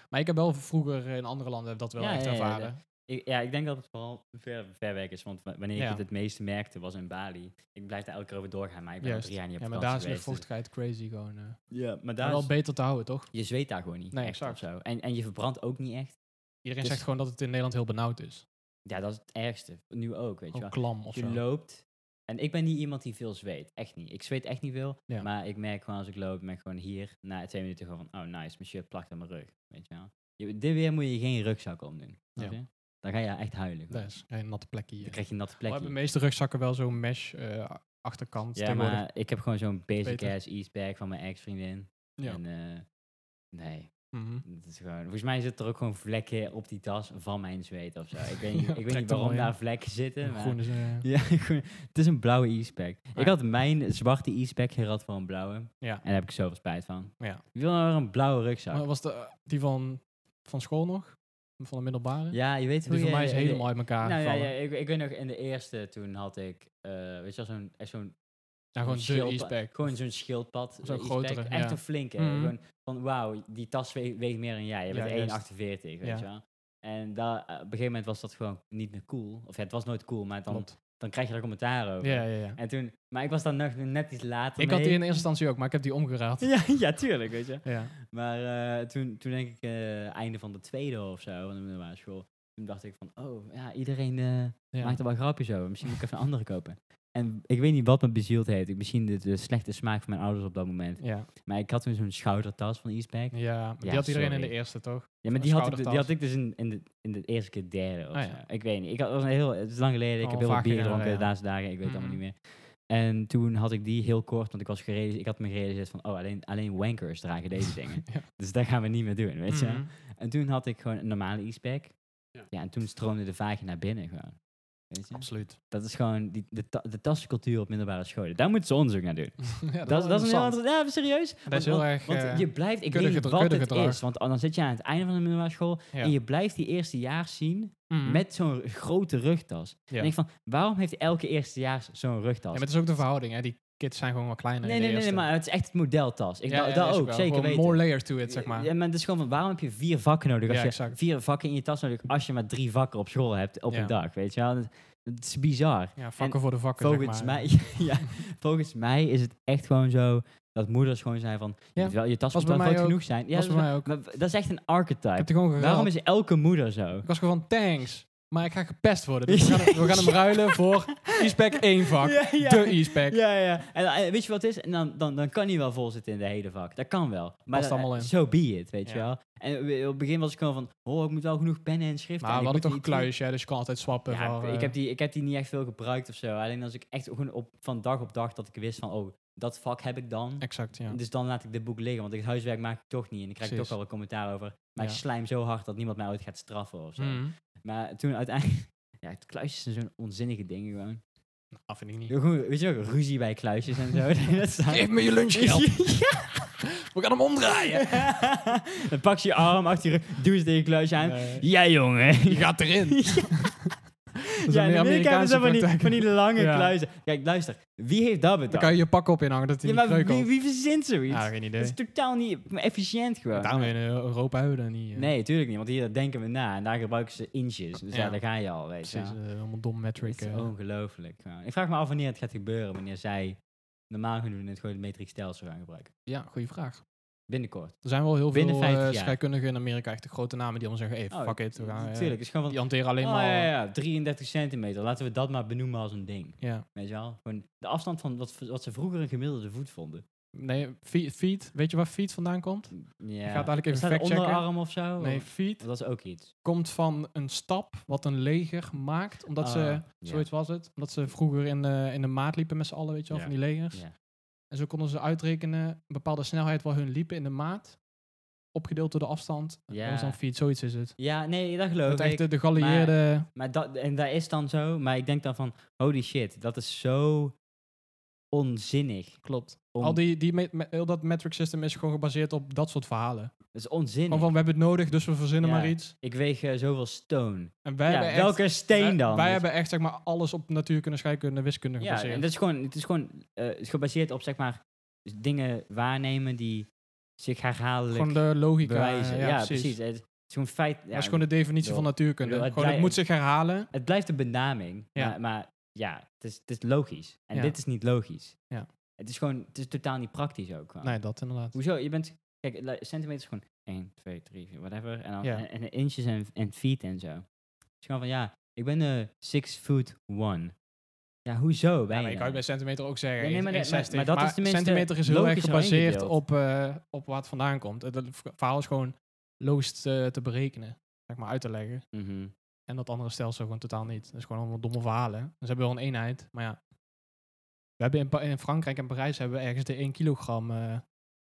Maar ik heb wel vroeger in andere landen dat wel
Ja,
echt
ja, ja,
ervaren.
Ik, ja, ik denk dat het vooral ver, ver weg is. Want wa- wanneer
Ja.
ik het het meeste merkte was in Bali. Ik blijf daar elke keer over doorgaan, maar ik ben al
Juist.
drie jaar niet op
Ja, maar daar is
vakantie
de
geweest, dus-
vochtigheid crazy gewoon. eh. Maar
Ja, maar
wel
daar is,
beter te houden, toch?
je zweet daar gewoon niet
Nee,
echt of
exact.
zo. En, en je verbrandt ook niet echt.
Iedereen
Dus-
zegt gewoon dat het in Nederland heel benauwd is.
Ja, dat is het ergste. Nu ook, weet je
Gewoon
wel.
klam of
je
zo.
loopt. En ik ben niet iemand die veel zweet. Echt niet. Ik zweet echt niet veel.
Ja.
Maar ik merk gewoon als ik loop, ben ik gewoon hier na twee minuten gewoon van, oh nice, mijn shirt plakt aan mijn rug. Weet je wel. Je, dit weer moet je geen rugzak omdoen. snap
Ja.
je? Dan ga je echt huilen. gewoon.
Daar is Oh, geen natte plekje hier.
Dan krijg je een natte
We
plekje.
hebben de meeste rugzakken wel zo'n mesh eh, achterkant.
Ja,
tegenwoordig.
maar ik heb gewoon zo'n basic
Beter.
ass ass bag van mijn ex-vriendin.
Ja.
En eh, nee,
Mhm.
dat is gewoon... Volgens mij zitten er ook gewoon vlekken op die tas van mijn zweet of zo. Ik weet niet,
Ja,
ik weet
trekt
niet
er wel
waarom
in.
daar vlekken zitten, maar...
Groen is, eh,
Ja, groen. het is een blauwe e-spec.
Ja.
Ik had mijn zwarte e-spec gerad voor een blauwe.
Ah. Ja.
En daar heb ik zoveel spijt van.
Ja.
Ik wil nou weer een blauwe rugzak.
Maar was de, eh, die van, van school nog? Van de middelbare?
ja, je weet hoe
die van
je-
mij is
je-
helemaal uit elkaar
Nou ja,
gevallen.
ja
Ja,
ik, ik weet nog, in de eerste toen had ik, eh, weet je wel, zo'n echt zo'n
gewoon
Zo'n
de
schildpad-
e-spec.
Gewoon zo'n schildpad.
Zo'n
zo'n e-spec.
grotere,
Echt
ja.
een flinke.
Mhm.
Gewoon van wauw, die tas we- weegt meer dan jij. Je
Ja,
bent
juist.
1,48, weet
Ja.
je wel. En daar, eh, op een gegeven moment was dat gewoon niet meer cool. Of ja, het was nooit cool, maar dan,
Klopt.
dan krijg je er commentaar over.
Ja, ja, ja.
En toen, maar ik was daar nog net iets later
Ik had die
mee.
in eerste instantie ook, maar ik heb die omgeraad. Ja.
ja, ja, tuurlijk, weet je. Maar eh, toen, toen denk ik, eh, einde van de tweede of zo, van de middelbare school. Toen dacht ik van, oh, ja, iedereen... eh,
ja.
Maakt er wel grapjes over. Misschien moet ik even een andere kopen. En ik weet niet wat me bezield heeft. Ik- Misschien de, de slechte smaak van mijn ouders op dat moment.
Ja,
Maar ik had toen zo'n schoudertas van Eastpak.
ja. maar die
Ja,
had iedereen in
sorry.
de eerste, toch?
Ja, maar
Een
die had, ik, die
schoudertas.
had ik dus in, in, de, in de eerste keer derde of
Ah,
zo.
ja.
Ik weet niet. Ik had, was een heel, het is lang geleden. Ik
Al
heb heel veel
vaak
bier
gedaan,
gedronken de
ja.
laatste dagen. Ik weet het allemaal
Mhm.
niet meer. En toen had ik die heel kort, want ik, was gereden, ik had me gerealiseerd van... Oh, alleen, alleen wankers dragen deze dingen.
Ja.
Dus dat gaan we niet meer doen, weet je.
Mhm.
En toen had ik gewoon een normale Eastpak.
Ja.
Ja. en toen stroomde de vagina binnen gewoon. Weet je?
Absoluut.
Dat is gewoon die, de, ta- de tascultuur op middelbare scholen. Daar moeten ze onderzoek naar doen.
ja,
dat, dat is een heel
interessant.
ander... Ja, maar serieus.
Dat is heel erg...
Want
eh,
je blijft... Ik weet
kudde
niet
gedra-
wat
kudde
het
gedrag.
is. Want dan zit je aan het einde van de middelbare school...
ja.
en je blijft die eerstejaars zien
Mhm.
met zo'n grote rugtas.
Ja.
En ik van, waarom heeft elke eerstejaars zo'n
Ja,
rugtas?
maar het is ook de verhouding, hè. Die kids zijn gewoon wat kleiner
nee,
in de
nee, nee, nee,
eerste.
maar het is echt het modeltas. Ik
Ja,
da-
ja,
dat
is
ook,
wel.
zeker
Gewoon
weten.
More layers to it, zeg maar.
Ja, maar het is gewoon van, waarom heb je vier vakken nodig? Als
Ja,
je
exact.
vier vakken in je tas nodig, als je maar drie vakken op school hebt op
Ja.
een dag, weet je wel? Dat- Het is bizar.
Ja, vakken voor de vakken, zeg
Volgens
maar.
mij, ja, volgens mij is het echt gewoon zo dat moeders gewoon zijn van, je
Ja,
moet wel je tas
was
moet
bij
wel
mij
groot
ook.
genoeg zijn. Ja,
was
dat,
bij
is
mij ook.
wel- maar w- dat is echt een
Ik heb
archetype.
het gewoon geruild.
Waarom is elke moeder zo?
Ik was gewoon thanks. Maar ik ga gepest worden. Dus we gaan, hem- we gaan hem ruilen voor e-spec 1 vak.
Ja, ja.
De e-spec.
Ja, ja. En eh, weet je wat het is? En dan, dan, dan kan hij wel vol zitten in de hele vak. Dat kan wel. Maar
Past
dan-
allemaal in.
zo be it, weet je
Ja.
wel. En we- op het begin was ik gewoon van, oh, ik moet wel genoeg pennen en schriften.
Maar
en
we
ik
hadden toch
moet
een
die- die-
kluisje, hè, dus je kan altijd swappen.
Ja,
voor,
ik,
eh,
heb die, ik heb die niet echt veel gebruikt of zo. Alleen als ik echt gewoon op, van dag op dag dat ik wist van, oh, dat vak heb ik dan.
Exact, ja.
Dus dan laat ik dit boek liggen, want het huiswerk maak ik toch niet. En dan krijg ik
Precies.
toch wel een commentaar over. Maar
Ja.
ik slijm zo hard dat niemand mij ooit gaat straffen of zo.
Mm.
Maar toen uiteindelijk... Ja, het kluisjes zijn zo'n onzinnige dingen gewoon.
Nou, vind ik niet.
Gewoon, Weet je wel, ruzie bij kluisjes en zo. dat staat-
Geef me je lunchgeld. We gaan hem omdraaien.
dan pak je je arm achter je rug, doe eens tegen je kluisje aan.
Nee.
Ja, jongen.
Je gaat erin. Dus
Ja, in Amerika hebben ze van die, van die lange
Ja.
kluizen. Kijk, luister. Wie heeft dat
Dan
bedacht?
kan je je pak op inhangen dat hij
ja,
niet
maar
leuk
wie,
komt.
wie verzint zoiets?
Ja, geen
dat is
idee.
totaal niet efficiënt gewoon.
Daarom in eh, Europa hebben we dat niet. eh,
Nee, tuurlijk niet. Want hier dat denken we na. En daar gebruiken ze inches. Dus
Ja.
ja, daar ga je al, weet je
Precies,
wel.
eh, allemaal dom metric.
Het is
eh.
ongelooflijk. gewoon. Ik vraag me af wanneer het gaat gebeuren. Wanneer zij normaal gaan doen en het gewoon het metriekstelsel gaan gebruiken.
Ja, goede vraag.
Binnenkort.
Er zijn wel heel
Binnen
veel
50
eh,
jaar.
scheikundigen in Amerika, echt de grote namen die allemaal zeggen, hey,
Oh,
fuck it. We gaan, eh,
Tuurlijk. Het is gewoon
die
van...
hanteren alleen
Oh,
maar...
ja, ja, ja, 33 centimeter. Laten we dat maar benoemen als een ding.
ja.
Weet je wel? Gewoon de afstand van wat, wat ze vroeger een gemiddelde voet vonden.
Nee, fe- feet. Weet je waar feet vandaan komt?
Ja.
Ik ga het eigenlijk even
Is dat een
factchecken.
onderarm of zo?
Nee,
Of-
feet
Dat is ook iets.
komt van een stap wat een leger maakt. Omdat
Ah,
ze,
ja.
eh, zoiets was het, omdat ze vroeger in de, in de maat liepen met z'n allen, weet je wel,
Ja.
van die legers.
Ja.
En zo konden ze uitrekenen een bepaalde snelheid waar hun liepen in de maat. Opgedeeld door de afstand.
Ja.
Dat is dan feet, zoiets is het.
Ja, nee, dat geloof
Dat
ik.
echt de, de geallieerde...
Maar dat, en dat is dan zo, maar ik denk dan van, holy shit, dat is zo onzinnig.
Klopt.
Om-
Al die, die me- me- heel dat metric system is gewoon gebaseerd op dat soort verhalen.
Dat is onzinnig.
Gewoon van, we hebben het nodig, dus we verzinnen
Ja.
maar iets.
ik weeg eh, zoveel stone.
En wij
ja,
hebben echt...
welke steen
wij-
dan?
Wij
Weet-
hebben echt, zeg maar, alles op natuurkunde, scheikunde, wiskunde
ja,
gebaseerd.
en dus dat is gewoon, het is gewoon eh, het is gebaseerd op, zeg maar, dus dingen waarnemen die zich herhaaldelijk
gewoon de logica.
bewijzen.
Ja, precies.
Het het is gewoon feit. Ja,
dat is gewoon de definitie van
bedoel-
natuurkunde.
bedoel, het
gewoon, het
blij-
moet zich herhalen.
Het blijft een benaming,
Ja.
Maar, maar ja, het is, het is logisch. En
Ja.
dit is niet logisch.
Ja.
Het is gewoon, het is totaal niet praktisch ook. gewoon.
Nee, dat inderdaad.
Hoezo? Je bent... Kijk, lu- centimeter is gewoon 1, 2, 3, 4, whatever. En dan
Ja.
en, en inches en, en feet en zo. Dus gewoon van, ja, ik ben eh 6 foot 1. Ja, hoezo ben
Ja,
je
maar je kan
dan?
het bij centimeter ook zeggen.
Ja, nee, maar-
1,60.
maar- maar dat is tenminste
centimeter is heel erg
logischer
gebaseerd
ingedeeld.
op, eh, op wat het vandaan komt. Het het verhaal is gewoon logisch te, te berekenen, zeg maar uit te leggen.
Mhm.
En dat andere stelsel gewoon totaal niet. Dat is gewoon allemaal domme verhalen. Dus ze hebben wel een eenheid, maar ja. We hebben in, Pa- in Frankrijk en Parijs hebben we ergens de 1 kilogram eh,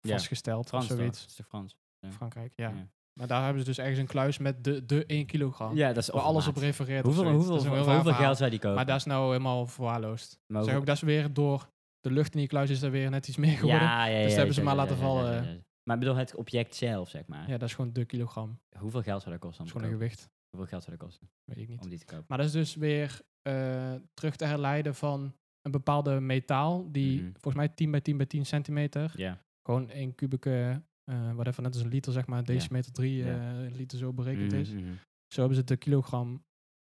vastgesteld
Frans
of
toch?
zoiets.
Dat is toch Frans?
Frankrijk, ja.
Ja.
Maar daar hebben ze dus ergens een kluis met de, de 1 kilogram.
Ja, dat is
waar alles op
overmaat.
refereert. of
Hoeveel,
zoiets.
hoeveel,
Dat is een heel
voor
raar
hoeveel
verhaal.
geld zou die kopen?
Maar dat is nou helemaal verwaarloosd.
Maar
Zeg ook, dat is weer door de lucht in die kluis is er weer net iets meer geworden.
ja,
Ja,
ja, ja,
dat
ja,
hebben ze
ja,
maar
ja,
laten
ja, ja, ja,
vallen.
ja, ja. Maar ik bedoel, het object zelf, zeg maar.
dat is gewoon de kilogram. Dat
Hoeveel geld zou dat kosten?
is
Om te
gewoon een
kopen?
gewicht.
Hoeveel geld zou dat kosten
Weet ik niet.
om die te kopen?
Maar dat is dus weer eh, terug te herleiden van een bepaalde metaal die
Mhm.
volgens mij 10 bij 10 bij 10 centimeter,
Ja.
gewoon 1 kubieke, eh whatever, net als een liter zeg maar, decimeter 3
Ja.
liter zo berekend
Mhm,
is.
mhm.
Zo hebben ze de kilogram,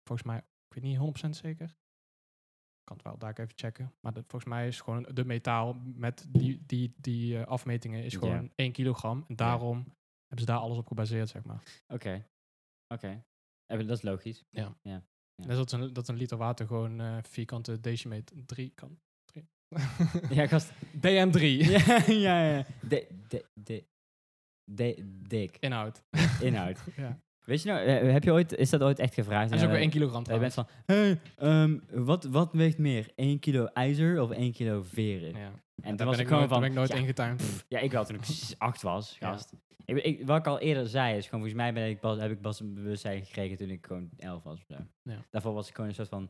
volgens mij, ik weet niet 100% zeker. Ik kan het wel daar ook even checken. Maar dat, volgens mij is gewoon de metaal met die, die, die eh, afmetingen is
Ja.
gewoon 1 kilogram. En daarom hebben ze daar alles op gebaseerd, zeg maar.
Oké. Oké. Eh, Dat is logisch. Ja.
Net als dat een, dat een liter water gewoon eh, vierkante decimeter 3 kan. drie.
Ja, gast.
DM3.
ja, ja, ja. De, de, de, de, dik.
Inhoud.
Inhoud.
Ja.
Weet je nou, eh, heb je ooit, is dat ooit echt gevraagd?
Dat is ook weer 1
keer.
kilogram
Je bent
trouwens.
van, hey, ehm, wat, wat weegt meer? 1 kilo ijzer of 1 kilo veren?
Ja.
En toen was
Daar
ik
ben ik nooit,
gewoon
daar
van,
ben ik nooit
ja,
ingetuind.
Ja, ik wel toen ik s- acht was,
Ja.
gast. Ik, ik- wat ik al eerder zei, is gewoon volgens mij ben ik pas, heb ik pas een bewustzijn gekregen toen ik gewoon elf was of zo.
Ja.
Daarvoor was ik gewoon een soort van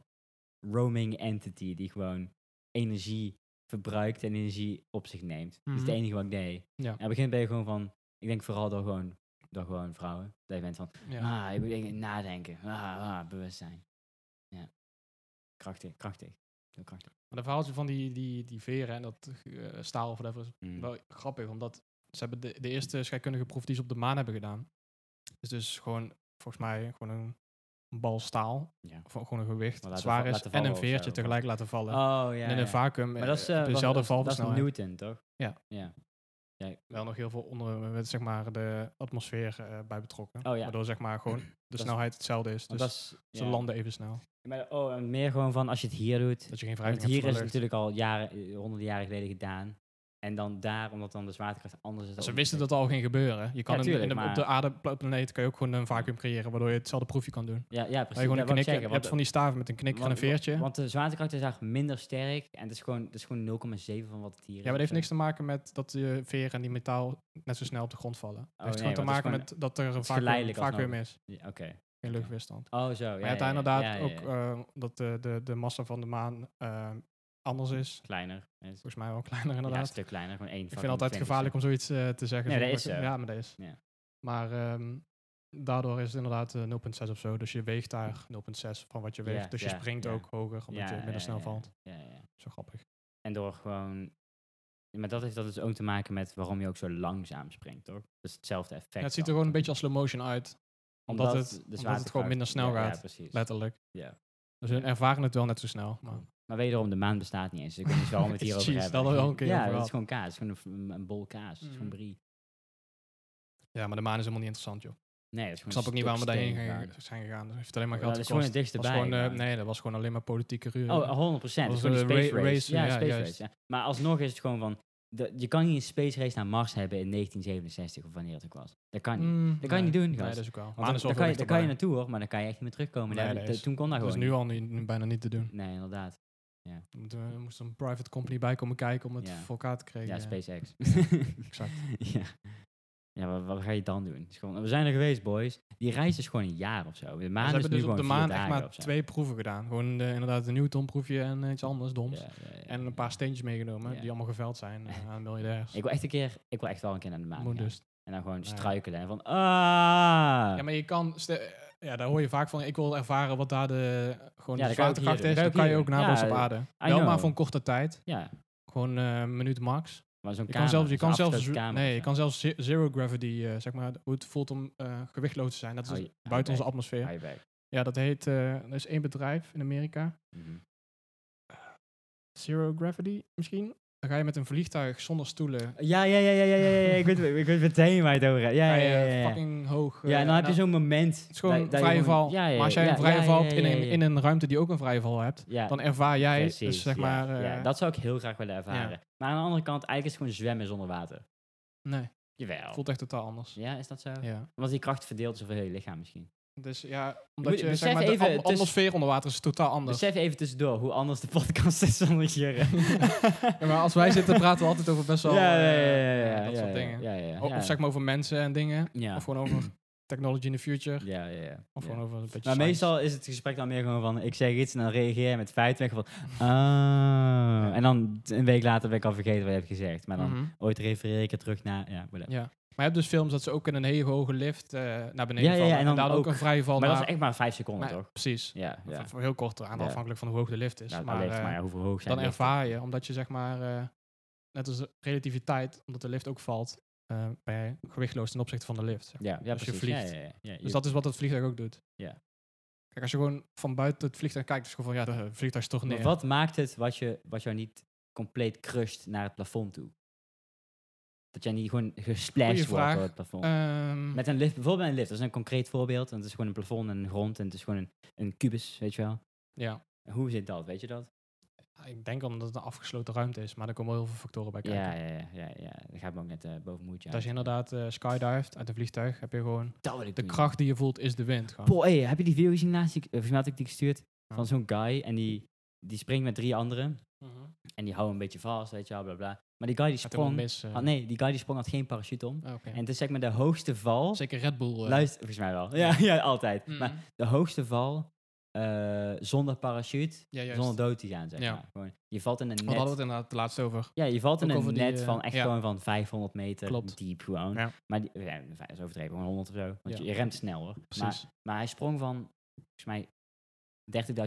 roaming entity die gewoon energie verbruikt en energie op zich neemt. Dat is
Mhm.
het enige wat ik deed.
Ja.
En op het begin ben je gewoon van, ik denk vooral door gewoon, door gewoon vrouwen. Dat je bent van,
Ja.
ah, je moet echt nadenken. Ah, ah, bewustzijn. Ja. Krachtig, krachtig. Heel krachtig.
Maar de verhaaltje van die, die, die veren en dat eh, staal of whatever is
Mm.
wel grappig, omdat ze hebben de, de eerste scheikundige proef die ze op de maan hebben gedaan. Is dus gewoon, volgens mij, gewoon een een bal staal,
Ja.
of gewoon een gewicht
Maar laten
dat zwaar
va-
is,
laten
en een
vallen of
veertje
zo.
tegelijk laten vallen.
Oh, ja.
en in
ja.
een vacuüm
Maar dat is,
eh,
eh,
op
wat-
dezelfde
dat, is- dat is
valversnelheid.
Newton, toch?
Ja.
ja. Ja,
Wel nog heel veel onder eh, met, zeg maar, de atmosfeer eh, bij betrokken.
Oh, ja.
Waardoor zeg maar, gewoon de
is-
snelheid hetzelfde is. Dus
want dat is,
ze
ja.
landen even snel.
Maar, oh, en meer gewoon van als je het hier doet.
Dat je geen
Want
wrijving hebt
hier
voor
is
de
het
lucht.
natuurlijk al jaren, eh, honderden jaren geleden gedaan. En dan daar, omdat dan de zwaartekracht anders is. dan
Ze
op-
wisten dat al ging gebeuren. Je kan in-
tuurlijk,
in, de,
maar-
op de aardeplaneet kan je ook gewoon een vacuüm creëren, waardoor je hetzelfde proefje kan doen.
Ja, ja precies.
Dat je gewoon
Ja,
een
wou ik
knikker
zeggen,
je hebt
want-
van die staven met een knikker en een
want-
veertje.
Want de zwaartekracht is eigenlijk minder sterk. En het is gewoon, het is gewoon 0,7 van wat het hier is.
ja, maar
of
dat heeft
zo.
niks te maken met dat je veer en die metaal net zo snel op de grond vallen. Het heeft
Oh, nee,
gewoon te
want het
maken
is
met dat er een
is
vacuüm,
geleidelijk
vacuüm
alsnog.
is.
Ja, Oké.
Geen luchtweerstand.
Oh, zo.
Maar je hebt daar inderdaad ook eh, dat de, de, de massa van de maan eh, anders is.
kleiner. Ja, het is-
Volgens mij wel kleiner
Ja, een
inderdaad.
stuk kleiner. Gewoon één
Ik vind het altijd gevaarlijk om zoiets eh, te zeggen.
Nee,
zeg
dat
maar.
is zo.
Ja, maar dat is.
Ja.
Maar ehm, daardoor is het inderdaad eh, 0,6 of zo. Dus je weegt daar 0,6 van wat je
Ja,
weegt. dus je
ja,
springt
ja.
ook hoger, omdat je minder snel valt.
Ja, ja.
Zo grappig.
En door gewoon... Maar dat heeft dat dus ook te maken met waarom je ook zo langzaam springt, toch? Dus hetzelfde effect.
Ja, het ziet er
dan.
gewoon een beetje als slow motion uit. Omdat, het,
de
omdat het gewoon
zwaartekracht-
minder snel
ja,
gaat.
Ja, precies.
Letterlijk.
Ja.
Dus hun ervaren het wel net zo snel. Maar
Maar wederom, de maan bestaat niet eens. Dus ik weet niet waarom we het hierover
Jeez,
hebben.
dat hadden we al een keer
Ja,
over
dat
gehad.
is gewoon kaas. Het is gewoon een, een bol kaas. Het is gewoon
Mhm.
brie.
ja, maar de maan is helemaal niet interessant, joh.
Nee, dat is
Ik
gewoon
snap ook
een
niet waarom we
stuk
daarheen
steen
gingen- zijn gegaan. Het heeft alleen maar
Ja,
geld
dat is gewoon
gekost.
het dichtste
Dat was gewoon,
bij,
eh,
maar-
nee, dat was gewoon alleen maar politieke ruzie.
Oh, 100 procent. Het
Dat
is gewoon
was
een
een
space
ra-
race.
race,
Ja,
ja,
space
juist.
race. ja. Maar alsnog is het gewoon van... de- je kan niet een space race naar Mars hebben in 1967 of wanneer het ook was. Dat kan niet.
Mm,
Dat kan je niet doen,
Nee,
gast.
dat is ook wel.
Want
Maan
dan,
is wel
dan kan je,
veel
dan kan je
dichterbij.
naartoe hoor, maar dan kan je echt niet meer terugkomen.
Nee,
Daar-
dat
de-
is-
toen kon dat
Dat is
gewoon
Dus nu al niet- nu bijna niet te doen.
niet. Nee, inderdaad.
Er moet, eh, er moest een private company bij komen kijken om het
Ja.
voor elkaar te krijgen.
Ja, SpaceX.
exact.
ja. Ja, maar wat ga je dan doen? Het is gewoon, we zijn er geweest, boys. Die reis is gewoon een jaar of zo. De
Ze
maan is
hebben
nu
dus op
gewoon
de
vier
maan echt
dagen
maar
of zo.
twee proeven gedaan. Gewoon eh, inderdaad een Newton-proefje en eh, iets anders doms.
Ja, ja, ja,
En
ja.
een paar steentjes meegenomen
Ja.
die allemaal geveld zijn eh, aan miljardairs.
Ik wil echt een keer, ik wil echt wel een keer naar de maan.
Moet
gaan.
dus.
En dan gewoon
Ja.
struikelen en van, ah!
Ja, maar je kan... ste- eh, Ja, daar hoor je vaak van. Ik wil ervaren wat daar de,
Ja,
gewoon de
dat kan je ook
zwaartekracht
hier
is.
doen.
Dat
Dat kan
kan
je
je
ook
ook
hier
na
doen.
ons op
Ja,
aarde.
I
Wel maar
know.
voor een korte tijd.
Ja,
Gewoon eh, een minuut max.
maar zo'n
Je
camera,
kan zelfs, je
zo'n
kan zelfs,
afgestoten
zo-
camera
nee,
of
je
zo.
kan zelfs ze- zero gravity, eh, zeg maar, hoe het voelt om eh, gewichtloos te zijn. Dat is
Hou je- hou je
buiten onze
bij.
atmosfeer.
Hou je bij.
Ja, dat heet, eh er is één bedrijf in Amerika,
Mhm.
Zero Gravity misschien. Dan ga je met een vliegtuig zonder stoelen,
Ja, ja, ja, ja, ja, ja, ja, ik weet, ik weet meteen waar je het over hebt. Ja,
ga
ja,
je
ja, ja, ja.
fucking hoog.
Ja,
eh,
en dan heb je
nou,
zo'n moment.
Het is gewoon een
dat- dat je
vrije
gewoon-
val.
ja, ja, ja,
maar als jij
ja,
een vrije
ja,
val
ja,
hebt in,
ja,
een,
ja.
in een ruimte die ook een vrije val hebt,
Ja,
dan ervaar jij,
precies,
dus zeg
ja,
maar...
ja,
eh,
dat zou ik heel graag willen ervaren. Maar aan de andere kant, eigenlijk is het gewoon zwemmen zonder water.
Nee,
Jawel.
voelt echt totaal anders. Ja.
Oh. Ja, is dat zo? Omdat die kracht verdeeld is over heel je lichaam misschien.
Dus ja, omdat
Moet-
je,
besef
zeg maar, de
even,
am-
het is-
atmosfeer onder water is totaal anders.
Besef Dus even tussendoor hoe anders de podcast is dan hier.
Ja, maar als wij zitten praten we altijd over best wel
ja, ja, ja,
eh,
ja, ja,
dat
ja,
soort
ja,
dingen.
Ja, ja, ja.
Of, of zeg maar over mensen en dingen.
Ja.
Of gewoon over technology in the future.
Ja, ja, ja.
Of
ja.
gewoon over een beetje
Maar
science.
meestal is het gesprek dan meer gewoon van, ik zeg iets en dan reageer je met feiten. En ik van, ah. En dan t- een week later ben ik al vergeten wat je hebt gezegd. Maar dan
Mhm.
ooit refereer ik het terug naar, ja, whatever.
Ja. Maar je hebt dus films dat ze ook in een hele hoge lift eh, naar beneden
Ja, ja, ja,
vallen.
en
En,
dan
daardoor ook
ook.
een vrije val
Maar dat
naar-
is echt maar vijf seconden,
nou, maar-
toch?
Precies.
Ja, ja.
Voor heel kort aan,
Ja.
afhankelijk van hoe hoog de lift is.
Nou,
maar,
maar,
eh,
maar ja, hoeveel hoog zijn
dan
lichten?
ervaar je, omdat je zeg maar, eh, net als de relativiteit, omdat de lift ook valt, eh, ben je gewichtloos ten opzichte van de lift. zeg maar.
Ja, ja
als je
precies. Ja,
vliegt.
ja, ja, ja. Je-
Dus dat is wat het vliegtuig ook doet.
Ja.
Kijk, als je gewoon van buiten het vliegtuig kijkt, is het gewoon van, ja, de vliegtuig is toch
Maar
neer.
wat maakt het wat, je, wat jou niet compleet crusht naar het plafond toe? Dat jij niet gewoon
Goeie
gesplashed wordt
vraag.
door het plafond.
Ehm,
Met een lift, bijvoorbeeld een lift, dat is een concreet voorbeeld. Want het is gewoon een plafond en een grond en het is gewoon een, een kubus, weet je wel.
ja.
Hoe zit dat, weet je dat?
Ik denk omdat het een afgesloten ruimte is, maar er komen wel heel veel factoren bij kijken.
Ja, ja, ja, ja, ja. Dat gaat me ook net eh, boven moedje
Want Als je inderdaad eh skydivet uit een vliegtuig, heb je gewoon...
Dat wil ik
De
doen.
kracht die je voelt is de wind. gewoon.
Boah, hey, heb je die video gezien laatst? Die ik- eh, Volgens mij had ik die gestuurd
Ja.
van zo'n guy en die, die springt met drie anderen.
Mhm.
En die houden een beetje vast, weet je wel, bla bla. Maar die guy die
Gaat helemaal
sprong...
mis. eh.
had- nee, die guy die sprong had geen parachute om.
Ah, oké.
En het is zeg maar de hoogste val.
Zeker Red Bull. eh.
Luister, volgens mij wel. Ja, ja altijd.
Mm.
Maar de hoogste val eh, zonder parachute,
ja, juist.
zonder dood te gaan, zeg
Ja.
maar. Gewoon, je valt in een
We hadden
net.
het inderdaad laatst over.
Ja, je valt in
ook
een
over die,
net
eh,
van echt
ja.
gewoon van 500 meter
Klopt.
diep gewoon.
Ja.
Maar die, ja, dat is overdreven, gewoon 100 of zo. Want
Ja.
je, je remt snel hoor. Maar,
Precies.
maar hij sprong van, volgens mij,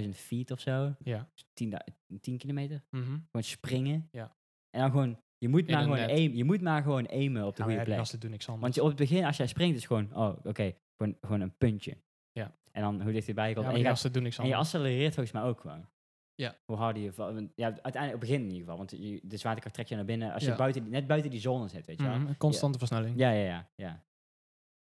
30.000 feet of zo. Dus
Ja.
10, 10 kilometer.
Mhm.
Gewoon springen.
Ja.
En dan gewoon, je moet,
In
maar
een
gewoon,
net.
aim, je moet maar gewoon aimen op de
Nou ja,
goede
die
plek.
gasten doen niks anders.
Want je, op het begin, als jij springt, is gewoon, oh, oké, gewoon, gewoon een puntje.
Ja.
En dan hoe dichterbij je
Ja,
komt.
maar
en, je
die
gaat,
gasten doen niks
en je
anders.
accelereert volgens mij ook gewoon.
Ja.
Hoe harder je... va- want- Ja, uiteindelijk op het begin in ieder geval. Want je, de zwaartekracht trekt je naar binnen. Als je
Ja.
buiten, die- net buiten die zone zit, weet je wel.
Mhm, een constante versnelling.
Ja, ja, ja, ja.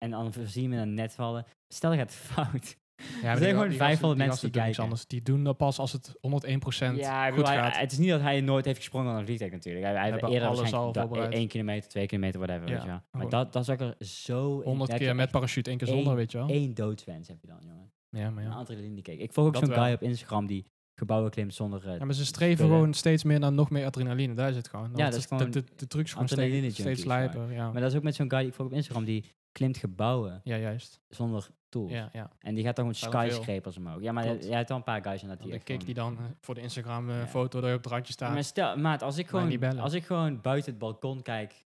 En dan voorzien we een net vallen. Stel, dat gaat fout.
Ja,
Er zijn
maar die
gewoon
ga- die
500
gasten- die
mensen die
gasten doen niks
kijken.
Anders. Die doen dat pas als het 101%
Ja, ik
goed
bedoel, hij-
gaat.
het is niet dat hij nooit heeft gesprongen aan een vliegtuig natuurlijk. Hij, hij heeft
hebben
eerder
alles
waarschijnlijk
al
da-
voorbereid.
1 kilometer, 2 kilometer, whatever.
Ja,
weet je wel. Maar
gewoon.
dat, dat is ook er zo... in-
100
dan heb je
keer met
echt
parachute, één keer zonder,
één- Nou,
weet je wel.
één doodswens heb je dan, jongen.
Ja, maar
Een
ja.
adrenaline kick. Ik volg ook
Dat
zo'n
wel.
guy op Instagram die gebouwen klimt zonder... eh,
Ja, maar ze streven
Spullen.
gewoon steeds meer naar nog meer adrenaline. Daar zit gewoon. Want
dat is
de-
gewoon
de, de, de trucs gewoon
adrenaline
steeds, steeds
junkies, maar.
lijper. Ja.
maar dat is ook met zo'n guy die ik volg op Instagram die klimt gebouwen
ja, juist.
zonder tools.
Ja, ja.
En die gaat dan gewoon
Daarom veel.
skyscrapers omhoog. Ja, maar
Klopt.
jij hebt al een paar guys en dat die
Dan de
echt
kick
gewoon-
die dan eh, voor de Instagram eh,
Ja.
foto dat je op het randje
Ja,
staat.
Maar stel, maat, als ik,
Maar niet
gewoon,
bellen.
als ik gewoon buiten het balkon kijk,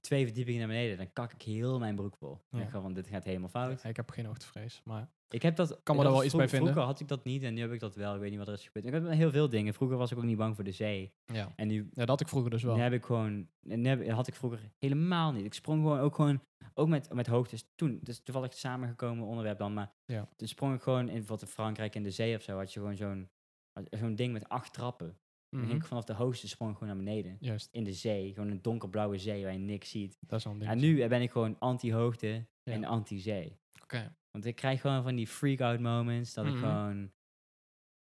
twee verdiepingen naar beneden, dan kak ik heel mijn broek vol. Dan
Ja.
denk ik gewoon, dit gaat helemaal fout.
Ja, ik heb geen hoogtevrees, maar
Ik heb dat...
Kan me
dat
daar wel
is
iets bij
vro-
vinden.
Vroeger had ik dat niet en nu heb ik dat wel. Ik weet niet wat er is gebeurd. Ik heb heel veel dingen. Vroeger was ik ook niet bang voor de zee.
ja.
En nu,
ja, dat had ik vroeger dus wel.
nu heb ik gewoon... en Nu heb- had ik vroeger helemaal niet. Ik sprong gewoon ook gewoon... Ook met, met hoogtes. Toen, dus toevallig samengekomen onderwerp dan. Maar
Ja.
toen sprong ik gewoon in bijvoorbeeld in Frankrijk in de zee of zo. Had je gewoon zo'n had- zo'n ding met acht trappen.
Mhm.
Dan ging ik vanaf de hoogste sprong ik gewoon naar beneden
Juist,
in de zee. Gewoon een donkerblauwe zee waar je niks ziet.
dat is al een ding.
En nu eh, ben ik gewoon anti-hoogte
Ja.
en anti-zee.
Oké.
Want ik krijg gewoon van die freak-out moments dat
Mhm.
ik gewoon...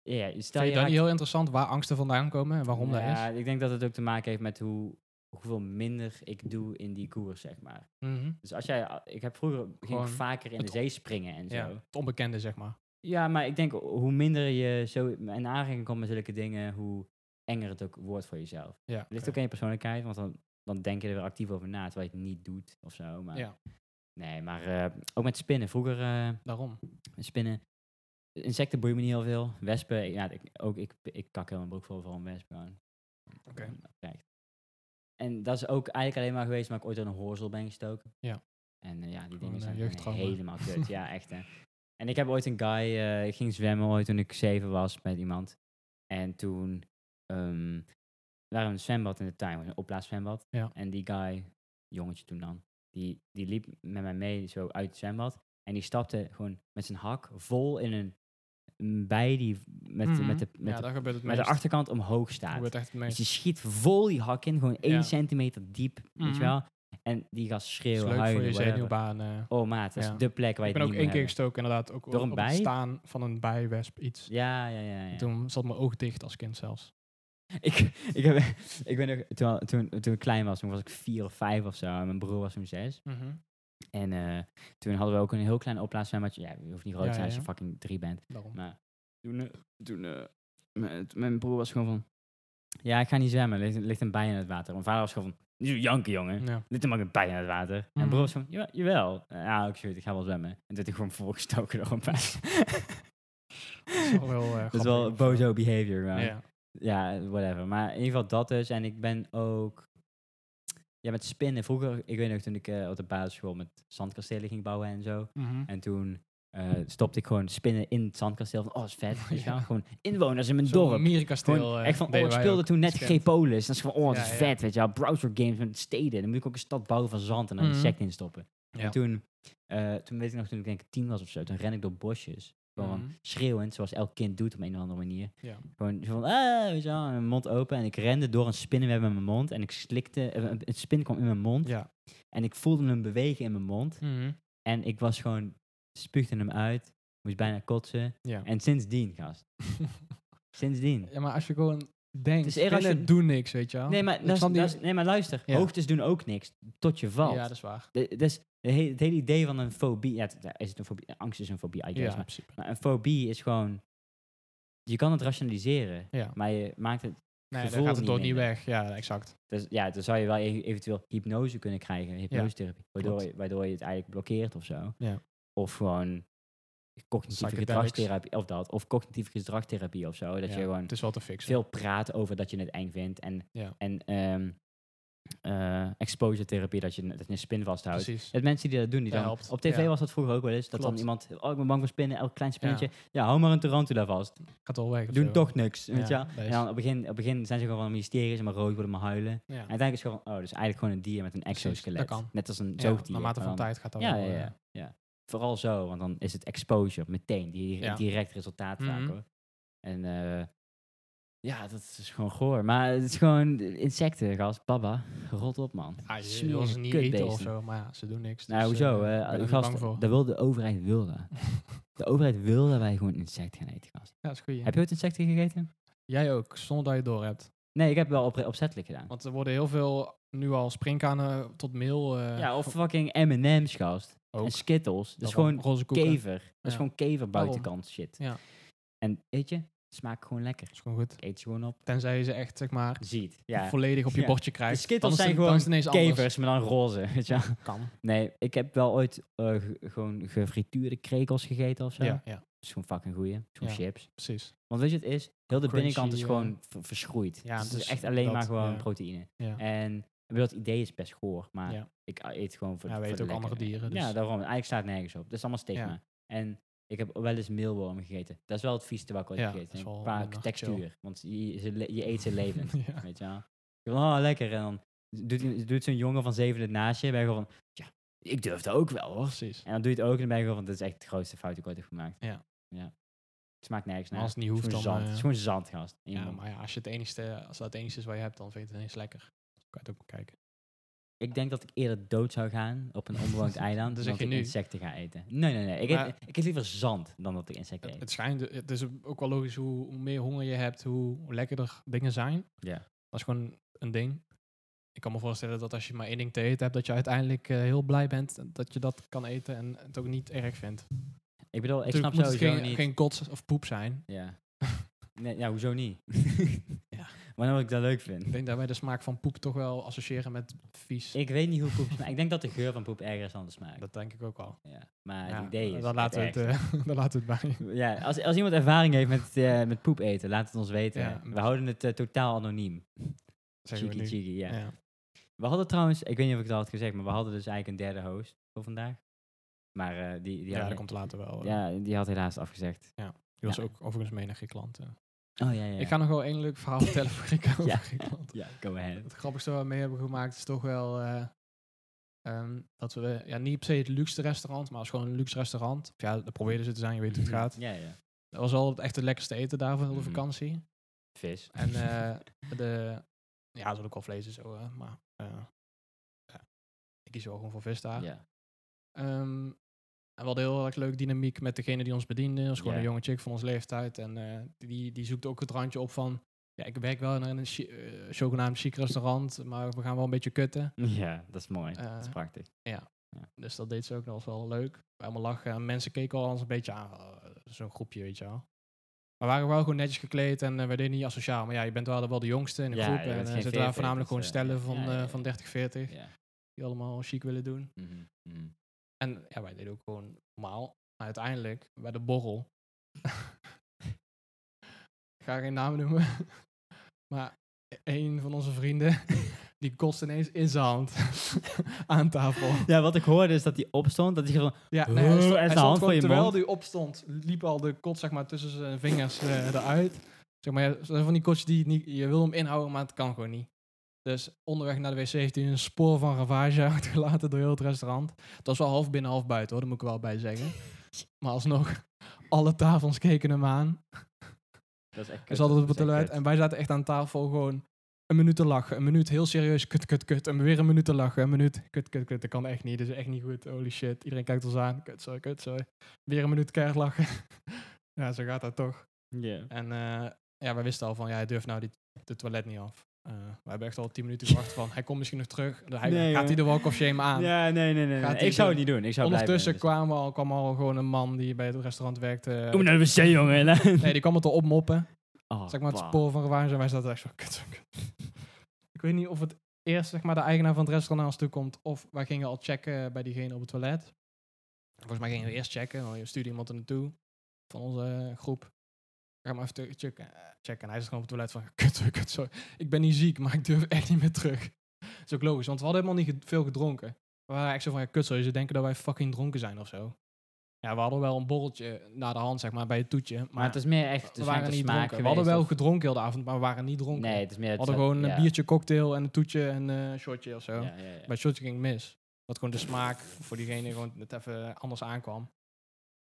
Ja, je stel
Vind je dat
raakt-
niet heel interessant waar angsten vandaan komen en waarom dat
Ja,
is?
ik denk dat het ook te maken heeft met hoe, hoeveel minder ik doe in die koers, zeg maar.
Mhm.
Dus als jij... Ik heb vroeger ging
Gewoon
ik vaker in de
het-
zee springen en zo.
Ja,
Ja.
het onbekende, zeg maar.
maar ik denk hoe minder je zo in aanraking komt met zulke dingen, hoe enger het ook wordt voor jezelf.
Ja,
Het ligt
oké.
ook aan je persoonlijkheid, want dan, dan denk je er weer actief over na, terwijl je het niet doet of zo. Maar
Ja.
Nee, maar eh, ook met spinnen. Vroeger eh,
daarom.
spinnen. Insecten boeien me niet heel veel. Wespen, ik- ja, ik, ook ik, ik kak heel mijn broek vol voor een wesp gewoon.
Oké.
Kijk. En dat is ook eigenlijk alleen maar geweest omdat ik ooit door een hoorzel ben gestoken.
Ja.
En eh, ja, die
Gewoon,
dingen
eh,
zijn gewoon
jeugdtrauma.
helemaal kut. ja, echt hè. En ik heb ooit een guy, eh, ik ging zwemmen ooit toen ik zeven was met iemand. En toen ehm we waren we in een zwembad in de tuin, een opblaaszwembad.
Ja.
En die guy, jongetje toen dan, die, die liep met mij mee zo uit het zwembad. En die stapte gewoon met zijn hak vol in een, een bij die met, de-
Mhm.
met, de, met,
ja,
de,
daar gebeurt het
met de
meest.
achterkant omhoog
Daar
staat.
gebeurt echt het
Dus
meest.
die schiet vol die hak in, gewoon één
Ja.
centimeter diep, weet je
Mhm.
wel. En die gaat
is
schreeuwen,
leuk voor
huilen,
je
whatever.
zenuwbaan. eh.
Oh maat, dat is
Ja.
de plek waar
Ik
je
ben
het
ook
niet
één
moet
keer
hebben.
gestoken, inderdaad. Ook
Door een
op het
bij?
staan van een bijwesp iets.
Ja, ja, ja. ja.
Toen zat mijn oog dicht als kind zelfs.
Ik, ik, heb, ik ben ook, toen, toen, toen ik klein was, toen was ik vier of vijf of zo. En mijn broer was toen zes. En eh, toen hadden we ook een heel klein opblaaszwemmertje. Ja, je hoeft niet groot te
Ja,
zijn als
ja,
je fucking drie bent.
Daarom.
Maar toen, eh, toen eh, mijn, mijn broer was gewoon van... Ja, ik ga niet zwemmen. Er ligt, er ligt een bij in het water. Mijn vader was gewoon van... Niet zo janken, jongen. Er
Ja.
ligt er maar een bij in het water. En mijn
Mhm.
broer was van... "Ja, Jawel. Eh, Ja, ik weet, ik ga wel zwemmen. En toen werd ik gewoon volgestoken door een bij.
is wel heel, eh,
Dat is
grappig
wel
of zo.
bozo behavior, man.
Ja.
Ja, whatever. Maar in ieder geval dat dus. En ik ben ook... Ja, met spinnen. Vroeger, ik weet nog toen ik eh, op de basisschool met zandkastelen ging bouwen en zo.
Mhm.
En toen eh, stopte ik gewoon spinnen in het zandkasteel. Van, oh, is vet. weet je wel.
Ja.
Gewoon inwoners in mijn
Zo'n
dorp.
Mierkasteel.
Gewoon
eh,
echt van, oh,
deden
ik
wij
speelde
ook
toen net
als kind.
G-Polis. Dat is gewoon, oh, dat
Ja,
is
ja.
vet, weet je wel. Browser games met steden. Dan moet ik ook een stad bouwen van zand en dan een
Mhm.
insect in stoppen.
Ja.
En toen, eh, toen weet ik nog, toen ik denk ik tien was of zo, toen ren ik door bosjes. Gewoon
Mhm.
schreeuwend, zoals elk kind doet op een of andere manier.
Ja.
Gewoon zo van, ah, weet je wel, en mijn mond open. En ik rende door een spinnenweb in mijn mond. En ik slikte, eh, een een spin kwam in mijn mond.
Ja.
En ik voelde hem bewegen in mijn mond.
Mhm.
En ik was gewoon, spuugde hem uit, moest bijna kotsen.
Ja.
En sindsdien, gast. Sindsdien.
Ja, maar als je gewoon denkt,
is
dus
eerder als
spinnen
je-
doen niks, weet je wel.
Nee, maar,
Oh, Ik
dat is-
snap niet-
dat is- nee, maar luister,
Ja.
hoogtes doen ook niks tot je valt.
Ja, dat is waar.
De- dus de he- het hele idee van een fobie, ja, het- ja, is het een fobie? Angst is een fobie, I guess.
Ja, in
Maar,
principe.
maar een fobie is gewoon, je kan het rationaliseren,
Ja.
maar je maakt het,
Nee,
gevoel
dan gaat het
niet
door niet
minder.
weg. Ja, exact.
dus, ja, dan zou je wel e- eventueel hypnose kunnen krijgen, hypnosetherapie, waardoor,
klopt.
je, waardoor je het eigenlijk blokkeert of zo.
Ja.
Of gewoon cognitieve
Psychedelics.
gedragstherapie, of dat, of cognitieve gedragstherapie of zo, dat
Ja,
je gewoon
Het is wel te fixen.
veel praten over dat je het eng vindt. En,
Ja.
en ehm, eh, exposure therapie, dat je, dat je een spin vasthoudt.
Precies.
Het mensen die dat doen, die
Dat
dan...
helpt,
Op tv
ja.
was dat vroeger ook wel eens. Dat dan
Klopt.
iemand... Oh, ik ben bang voor spinnen. Elk klein spinnetje. Ja, hou maar een tarantula vast.
Gaat wel weg. of
Doen
zo.
toch niks. Weet je wel?
Ja, dat
En
is-
dan op het begin, op het begin zijn ze gewoon van mysteries en maar rood worden, maar huilen. En
Ja.
uiteindelijk is het gewoon... Oh, dus eigenlijk gewoon een dier met een
Precies, dat
exoskelet.
kan.
Net als een
Ja,
zoogdier.
Naarmate
maar
van
dan-
tijd gaat dat
Ja,
wel.
ja,
eh,
ja, ja. vooral zo, want dan is het exposure meteen, die
Ja.
direct resultaat vaak
Mhm.
hoor. En eh, ja, dat is gewoon goor. Maar het is gewoon insecten, gast. Baba, rot op man.
Ah, je
Smerige
wil ze niet eten of
kutbeesten.
zo, maar ja, ze doen niks.
Nou,
dus,
hoezo?
eh, ik ben
eh
er niet
gast,
bang voor.
dat wil de overheid wilde. De overheid wil dat wij gewoon insecten gaan eten, gast.
Ja, dat is goed.
Heb je ooit insecten gegeten?
Jij ook, zonder dat je het door hebt.
Nee, ik heb wel op, opzettelijk gedaan.
Want er worden heel veel nu al springkanen tot meel. eh,
ja, of fucking M&M's, gast.
ook.
En Skittles. Dat is
van
gewoon
roze koeken.
kever. Dat is
Ja.
gewoon kever
Daarom.
buitenkant shit.
Ja.
En weet je, het smaakt gewoon lekker.
Dat is gewoon goed.
Ik eet ze gewoon op.
Tenzij je ze echt, zeg maar,
Ziet. Ja.
volledig op je
Ja.
bordje krijgt.
De Skittles
dan is het-
zijn
dan is het ineens anders.
Kevers, maar dan roze, weet je wel.
Kan.
Nee, ik heb wel ooit eh, ge- gewoon gefrituurde krekels gegeten of zo.
Ja, ja,
Dat is gewoon fucking goeie. Zo'n
Ja.
chips.
precies.
Want weet je, het is, heel de
Crunchy,
binnenkant is
eh,
gewoon ver- verschroeid.
ja,
dus het
dus
is echt alleen
dat,
maar gewoon
ja.
proteïne.
Ja.
En ik bedoel, dat idee is best goor, maar
Ja.
ik eet gewoon voor
Ja,
de-
we
voor
eten
de
ook andere
lekkere.
dieren,
Ja,
dus-
daarom. Eigenlijk staat het nergens op. Dat is allemaal stigma. En ik heb wel eens meelwormen gegeten. Dat is wel het vieste wat ik ooit
Ja,
heb gegeten
dat is
heb.
wel
Qua
minder
textuur.
chill.
Want je, ze le- je eet ze levend,
ja.
weet je wel. Je van, oh, lekker. En dan doet, die- doet zo'n jongen van zeven het naast je. En ben je gewoon van, ja, ik durf dat ook wel, hoor.
Precies.
En dan doe je het ook en dan ben je gewoon van, dit is echt de grootste fout die ik ooit heb gemaakt.
Ja.
ja. Het smaakt nergens
Maar
naar.
als het niet
Het
hoeft,
is
dan...
gewoon zand.
eh,
Het is gewoon zand, gast. In je
ja,
mond.
maar ja, als, je het enigste, als dat het enigste is wat je hebt, dan vind je het ineens lekker. Dan kan je het ook bekijken.
Ik denk dat ik eerder dood zou gaan op een onbewoond eiland dan
Dat zeg
dat
je
ik
nu.
insecten ga eten. Nee, nee, nee. Ik,
Maar-
eet, ik eet liever zand dan dat ik insecten
Het,
eet.
het, schijnt, het is ook wel logisch, hoe, hoe meer honger je hebt, hoe lekkerder dingen zijn.
Ja.
Dat is gewoon een ding. Ik kan me voorstellen dat als je maar één ding te eten hebt, dat je uiteindelijk eh, heel blij bent dat je dat kan eten en het ook niet erg vindt.
Ik bedoel, ik
Natuurlijk
snap
moet het
sowieso
geen,
niet...
geen kots of poep zijn.
Ja. Nee, ja, hoezo niet?
Ja.
Wanneer ik dat leuk vind.
Ik denk dat wij de smaak van poep toch wel associëren met vies.
Ik weet niet hoe poep smaakt. Ik denk dat de geur van poep ergens anders smaakt.
Dat denk ik ook al.
ja. Maar
Ja,
het idee is...
dan laten, we het,
ergste.
eh, dan laten we het bij.
Ja, als, als iemand ervaring heeft met, eh, met poep eten, laat het ons weten.
Ja,
we houden het eh, totaal anoniem.
Zeggen we
Cheeky,
nu.
cheeky, ja.
Ja.
We hadden trouwens, ik weet niet of ik dat had gezegd, maar we hadden dus eigenlijk een derde host voor vandaag. Maar eh, die, die,
Ja,
had,
dat komt later wel. eh.
ja, die had helaas afgezegd.
Die was
ja.
ook overigens mee naar Griekenland. eh.
Oh ja, ja.
Ik ga nog wel één leuk verhaal vertellen voor Griekenland.
Ja.
over Griekenland.
Ja, go ahead.
Het grappigste wat we mee hebben gemaakt is toch wel eh, ehm, dat we ja, niet per se het luxe restaurant, maar het is gewoon een luxe restaurant. Of ja, dat probeerden ze te zijn, je weet hoe het gaat.
Mhm. Ja, ja.
Dat was wel het echt het lekkerste eten daar van heel de
Mhm.
vakantie.
Vis.
En eh, de, ja, er zat ook wel vlees en zo, eh, maar eh, ja, ik kies wel gewoon voor vis daar.
ja.
Ehm, en we hadden heel erg leuk dynamiek met degene die ons bediende. Dat is gewoon
Ja.
een jonge chick van ons leeftijd. En eh, die, die zoekt ook het randje op van... Ja, ik werk wel in een chi- eh, zogenaamd chic restaurant, maar we gaan wel een beetje kutten.
ja, dat is mooi. dat is
Eh,
prachtig.
Dus dat deed ze ook, dat was wel leuk. We allemaal lachen en mensen keken al eens een beetje aan. eh, Zo'n groepje, weet je wel. Maar we waren wel gewoon netjes gekleed en eh, we deden niet asociaal. Maar ja, je bent wel, wel de jongste in de
Ja,
groep.
je
En
bent
eh,
geen
er zitten daar
40,
voornamelijk gewoon
dus, eh,
stellen
ja,
van,
ja, ja,
eh,
ja.
van 30, 40.
Ja.
Die allemaal chic willen doen.
Mhm, mhm.
En ja, wij deden ook gewoon normaal. Maar uiteindelijk, bij de borrel. ik ga geen naam noemen. maar e-, een van onze vrienden, die kost ineens in zijn hand aan tafel.
Ja, wat ik hoorde is dat hij opstond. Dat hij gewoon...
Ja,
Oh,
hij stond,
en
hij
zijn
stond
hand voor
gewoon,
je
terwijl
mond.
hij opstond, liep al de kot zeg maar, tussen zijn vingers eh, eruit. Zeg maar, ja, dat zijn van die kotjes die je niet, je wil hem inhouden, maar het kan gewoon niet. Dus onderweg naar de wc heeft hij een spoor van ravage uitgelaten door heel het restaurant. Het was wel half binnen, half buiten hoor, daar moet ik wel bij zeggen. Maar alsnog, alle tafels keken hem aan.
Dat is echt
Ze
kut,
hadden het
dat is echt
op het toilet
kut.
en wij zaten echt aan tafel gewoon een minuut te lachen. Een minuut heel serieus, kut, kut, kut. En weer een minuut te lachen, een minuut, kut, kut, kut. Dat kan echt niet, dat is echt niet goed. Holy shit, iedereen kijkt ons aan. Kut, sorry, kut, sorry. Weer een minuut keihard lachen. ja, zo gaat dat toch.
Ja.
En eh, ja, wij wisten al van, ja, hij durft nou die, de toilet niet af. Eh, we hebben echt al tien minuten gewacht van, hij komt misschien nog terug. Hij,
Nee,
gaat hij de walk of shame aan?
Ja, nee, nee, nee.
Gaat
nee.
hij
Ik zou
doen.
het niet doen. Ik zou blijven.
Ondertussen
dus.
kwam al, kwam al gewoon een man die bij het restaurant werkte.
Kom nou. naar de wc, jongen.
Nee, die kwam het al opmoppen.
Oh,
zeg maar het
wow.
spoor van gewaar zijn. Wij zaten echt zo kut, zo kut. Ik weet niet of het eerst zeg maar, de eigenaar van het restaurant naar ons toe komt. Of wij gingen al checken bij diegene op het toilet. Volgens mij gingen we eerst checken. Dan stuurde iemand er naartoe van onze eh, groep. Ga maar even te- checken. eh, checken. En hij zit gewoon op het toilet van kut, zo, kut, zo. Ik ben niet ziek, maar ik durf echt niet meer terug. Dat is ook logisch, want we hadden helemaal niet ge- veel gedronken. We waren echt zo van, ja, kut, zo, ze denken dat wij fucking dronken zijn of zo. Ja, we hadden wel een borreltje naar de hand, zeg maar, bij het toetje. Maar,
Maar het is meer echt... Het
we
is
waren
echt de
niet
smaak
dronken. We hadden wel
geweest,
gedronken heel de avond, maar we waren niet
of-
dronken.
Nee, het is meer...
we
het
hadden
zat-
gewoon een
ja.
biertje, cocktail en een toetje en eh, een shotje of zo.
Ja, ja, ja.
Bij het shotje ging het mis. Dat gewoon de smaak voor diegene gewoon net even anders aankwam.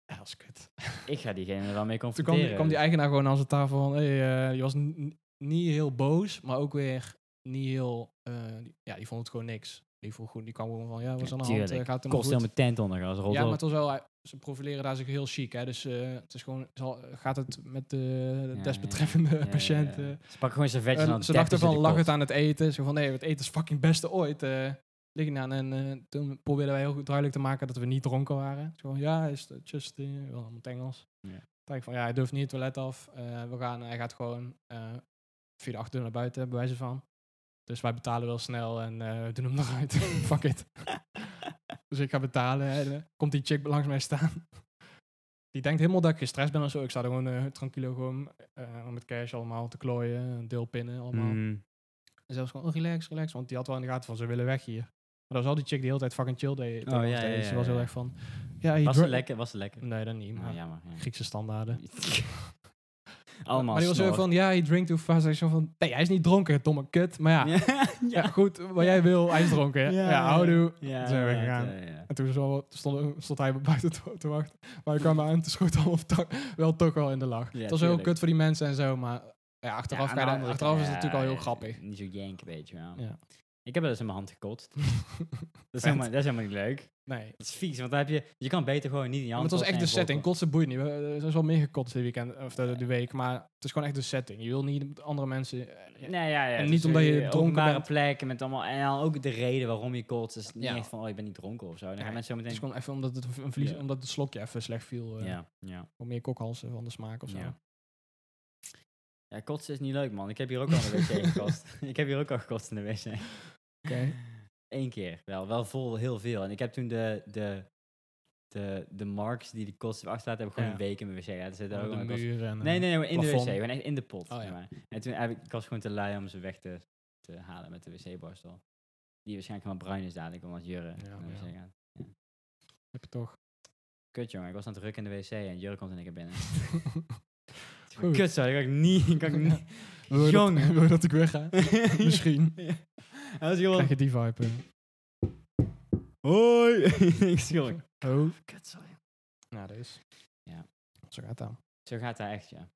Ja, dat is kut.
Ik ga diegene er wel mee
Toen kwam,
confronteren.
die- kwam die eigenaar gewoon aan zijn tafel van, hey, eh, die was n- n- niet heel boos, maar ook weer niet heel, eh, die- ja, die vond het gewoon niks. Die vroeg goed, die kwam gewoon van, ja, wat is
Ja,
aan de hand?
tuurlijk.
Eh, Gaat het
Kost heel
helemaal goed?
mijn tent onder als rot
Ja, maar eh,
op.
het was wel, hij- ze profileren daar zich heel chic, hè. Dus eh, het is gewoon, zal, gaat het met de
ja,
desbetreffende
Ja, ja,
patiënt...
ja.
eh,
Ze pakken gewoon servetjes
en
aan
ze dachten van, lag het aan het eten? Zo van, nee, het eten is fucking beste ooit. eh liggen aan. En eh, toen probeerden wij heel goed duidelijk te maken dat we niet dronken waren. Zo van, ja, is het just, eh, wel allemaal het Engels.
Ja.
Toen dacht ik van, ja, hij durft niet het toilet af. Eh, we gaan, hij gaat gewoon eh, via de achterdeur naar buiten, bij wijze van. Dus wij betalen wel snel en eh, we doen hem eruit. Fuck it. Dus ik ga betalen en eh, komt die chick langs mij staan. Die denkt helemaal dat ik gestrest ben of zo. Ik sta er gewoon eh, tranquilo gewoon eh, met cash allemaal te klooien, deelpinnen allemaal.
Mm.
En zelfs gewoon, oh, relax, relax. Want die had wel in de gaten van, ze willen weg hier. Maar dat was al die chick die de hele tijd fucking chill deed. tegen
ja,
ons
Oh, ja,
deed. Dus
ja,
die was heel
ja.
erg van... Ja, je
Was het
dru-
lekker? Was het lekker?
Nee, dat niet. Maar
Nou, jammer. ja.
Griekse standaarden.
Allemaal
maar die was
snor.
zo van, ja, je drink too fast. Hij is zo van, nee, hij is niet dronken, domme kut. Maar ja, ja. goed, wat jij wil, hij is dronken. Ja, houdoe.
Ja,
Toen zijn we
ja,
weggegaan.
ja, ja.
En toen zo- stond, stond hij buiten te, te wachten. Maar ik kwam aan, toen schoot allemaal toch- wel toch wel in de lach.
Ja,
het was heel
tuurlijk.
kut voor die mensen en zo, maar ja,
Ja,
achteraf,
aan
ga
de
je daar-
andere
achteraf
kant-
is het natuurlijk al
ja,
heel grappig.
Niet zo jank, weet je wel.
Ja.
Ik heb wel eens in mijn hand gekotst. Dat is, helemaal, dat is helemaal niet leuk.
nee,
Dat is vies, want dan heb je... Je kan beter gewoon niet in je
maar
hand
het was
kotsen
echt de
en
setting.
volgen.
Kotsen boeit niet. We- Er is wel meer gekotst dit weekend, of de, de week, maar het is gewoon echt de setting. Je wil niet met andere mensen...
Nee, ja, ja.
En
het
niet
is
omdat je
een
dronken
openbare
bent.
plek en met allemaal... En dan ook de reden waarom je kotst. is niet
Ja.
echt van, oh, je bent niet dronken of zo. Dan gaan
Nee,
mensen zo
Het is
meteen...
gewoon even omdat het, een verlies,
Ja.
omdat het slokje even slecht viel. eh
Ja, ja.
Voor meer kokhalsen van de smaak of zo.
Ja. Ja, kotsen is niet leuk, man. Ik heb hier ook al in de wc gekotst. Ik heb hier ook al gekotst in de wc.
Oké.
Eén keer wel. Wel vol, heel veel. En ik heb toen de, de, de, de marks die de kost achter laten, heb ik gewoon
Ja.
een week in mijn wc laten zitten. Ook
de
gewoon kost-
muur en... eh,
Nee, nee, nee, maar in de
plafond.
wc. Gewoon echt in de pot.
Oh,
zeg
ja.
maar. En toen heb ik, ik was gewoon te lui om ze weg te, te halen met de wc-borstel. Die waarschijnlijk helemaal bruin is dadelijk, omdat Jurre
Ja,
naar de
ja.
wc gaat.
Heb je toch.
Kut jongen, ik was aan het rukken in de wc en Jurre komt en ik er binnen. Kut zo, dat kan ik niet. Kan ik
Ja.
niet.
Wil je, dat,
Jongen.
wil je dat ik wegga? Misschien.
Hij was gewoon...
Krijg je die vibe. eh.
Hoi! ik schrik.
Oh.
Kut zo, jongen.
Nou, dat is.
Ja.
Zo gaat dat.
Zo gaat dat echt, ja.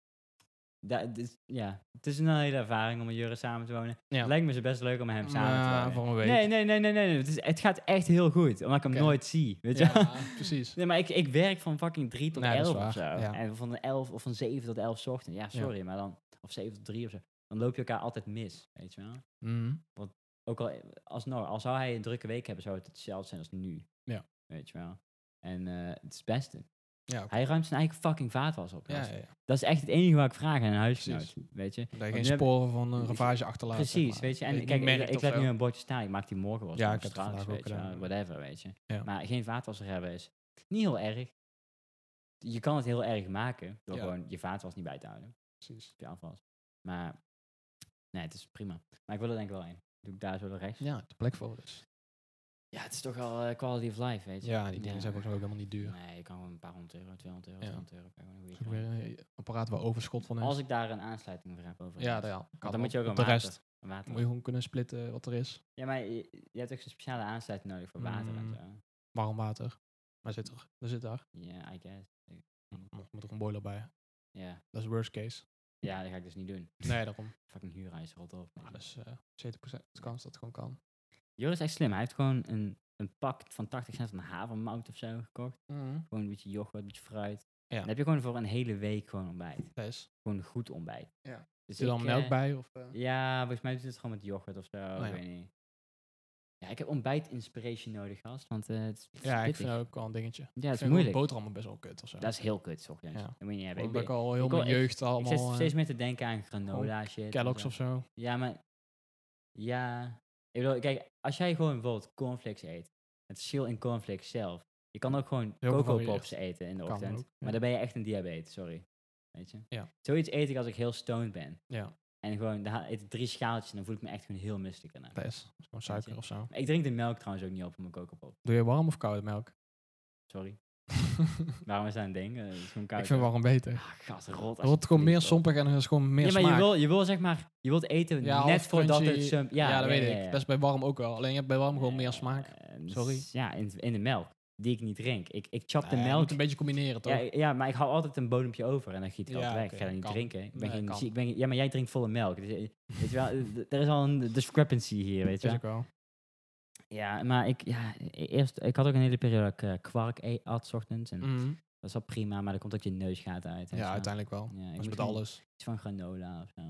Dat, dit- ja. Het is een hele ervaring om met Jurre samen te wonen.
Ja.
Het lijkt me zo best leuk om met hem samen te wonen.
voor een week.
Nee, nee, nee, nee, nee. nee. Het, is, het gaat echt heel goed, omdat ik hem
Oké.
nooit zie. Weet je? wel?
Ja, precies.
Nee, maar ik, ik werk van fucking 3 tot
Nee, dat is
11
waar,
of zo.
ja.
En van de 11 of van 7 tot 11 's ochtend. Ja, sorry, maar dan. Of 7 tot 3 of zo. Dan loop je elkaar altijd mis, weet je wel.
Mhm.
Ook al, alsnog, al zou hij een drukke week hebben, zou het hetzelfde zijn als nu.
Ja.
Weet je wel. En eh, het is het beste.
Ja, oké.
Hij ruimt zijn eigen fucking vaatwas op.
ja,
gast.
ja, ja.
Dat is echt het enige waar ik vraag aan een huisgenoot.
Precies.
Weet je?
Dat je
nu
geen
heb-
sporen van een ravage achterlaat. zeg
Precies,
maar.
weet je. En
Dat je
kijk,
niet
ik,
merkt
ik
of
laat
zo.
nu een bordje staan. Ik maak die morgen wel.
Ja,
Ja,
ik
ik
heb het
straat,
vandaag
weet
ook
je wel,
gedaan, ja.
Whatever, weet je.
Ja.
Maar geen vaatwasser hebben is niet heel erg. Je kan het heel erg maken door
Ja.
gewoon je vaatwas niet bij te houden.
Precies.
Je afwas. Maar nee, het is prima. Maar ik wil er denk ik wel een. Doe ik daar zo de rest.
Ja, de plek voor dus.
Ja, het is toch wel eh, quality of life, weet je.
Ja, die dingen zijn ook
ook
ook helemaal niet duur.
Nee, je kan gewoon een paar honderd euro, 200 euro,
Ja.
300 euro. kan je gewoon een
Ook
goede
weer een eh, apparaat waar overschot van
kant.
is.
Als ik daar een aansluiting voor heb over.
ja, dat ja, kan
dan
wel.
moet je ook
Op
een
de
water-
rest.
een water-
Moet je gewoon kunnen splitten wat er is.
Ja, maar je, je hebt ook zo'n speciale aansluiting nodig voor water en
Mm.
zo.
Warm water. Maar zit er. Er zit daar.
Ja, I guess. Mm.
Moet moet er een boiler bij.
Ja.
Dat is worst case.
ja, dat ga ik dus niet doen.
Nee, daarom.
Fucking huurhuis, rot op.
Maar dat is eh 70% kans dat het gewoon kan.
Joris is echt slim. Hij heeft gewoon een, een pak van 80 cent van havermout of zo gekocht. Gewoon een beetje yoghurt, een beetje fruit.
Ja.
Dan heb je gewoon voor een hele week gewoon ontbijt.
Dat is.
Gewoon goed ontbijt.
Ja.
Dus
Zit er
ik,
dan melk
eh,
bij? Of, eh?
Ja, volgens mij doet het gewoon met yoghurt of zo.
ja.
Ik weet niet. Ja, ik heb ontbijt inspiration nodig, gast. Want eh, het is
ja, ik
pittig.
vind dat ook wel een dingetje. Ik
ja, het
vind
is
gewoon
moeilijk.
boterhammen best wel kut of zo.
Dat is heel kut, toch?
Ja.
Dat moet je niet hebben. Ik,
Omdat ik
ben-
al heel
ik
mijn
wil echt-
jeugd
ik zit
allemaal...
steeds
eh,
meer te denken aan granola shit. en
Kellogg's
zo.
of zo.
Ja, maar... Ja... Ik bedoel, kijk, als jij gewoon bijvoorbeeld cornflakes eet, het verschil in cornflakes zelf. Je kan ook gewoon
Heel
coco
gevarieerd.
pops eten in de
Kan
ochtend.
ook, ja.
Maar dan ben je echt een diabetes, sorry. Weet je?
Ja.
Zoiets eet ik als ik heel stoned ben.
Ja.
En gewoon, dan ha- eet ik drie schaaltjes en dan voel ik me echt gewoon heel misselijk daarna.
Dat is. Gewoon suiker of zo.
Maar Ik drink de melk trouwens ook niet op in mijn coco pop.
Doe je warm of koude melk?
Sorry. Waarom is dat een ding? Eh, het is gewoon koud.
ik vind warm beter.
Ah, gast, rot.
Het wordt gewoon meer sompig en er is gewoon meer
Ja, maar
smaak.
je wil, je wil zeg maar, je wilt eten
Ja,
net
of
voordat
crunchy.
het... sump-
Ja,
Ja,
dat weet
ja,
ik. Best bij warm ook wel. Alleen je hebt bij warm gewoon meer smaak.
Eh, dus
Sorry.
Ja, in, in de melk, die ik niet drink. Ik, ik chop de
Eh, je
melk.
moet een beetje combineren, toch?
Ja, ja, maar ik hou altijd een bodempje over en dan giet ik
Ja,
altijd weg.
oké,
ik ga dat niet
kan.
drinken. Ik ben
Nee,
geen,
kan.
zie- ik ben, geen- ja, maar jij drinkt volle melk. Dus, eh, weet je wel, eh, d- er is al een discrepancy hier, weet je
is
wel.
ook wel.
Ja, maar ik, ja, e- eerst, ik had ook een hele periode dat ik eh, kwark e- at 's ochtends. En
Mhm.
dat is wel prima, maar dan komt ook je neusgaten uit. en zo.
Ja, uiteindelijk wel.
Mm. Ja, ik
Dat is
moest
met
gewoon
alles.
Iets van granola of zo.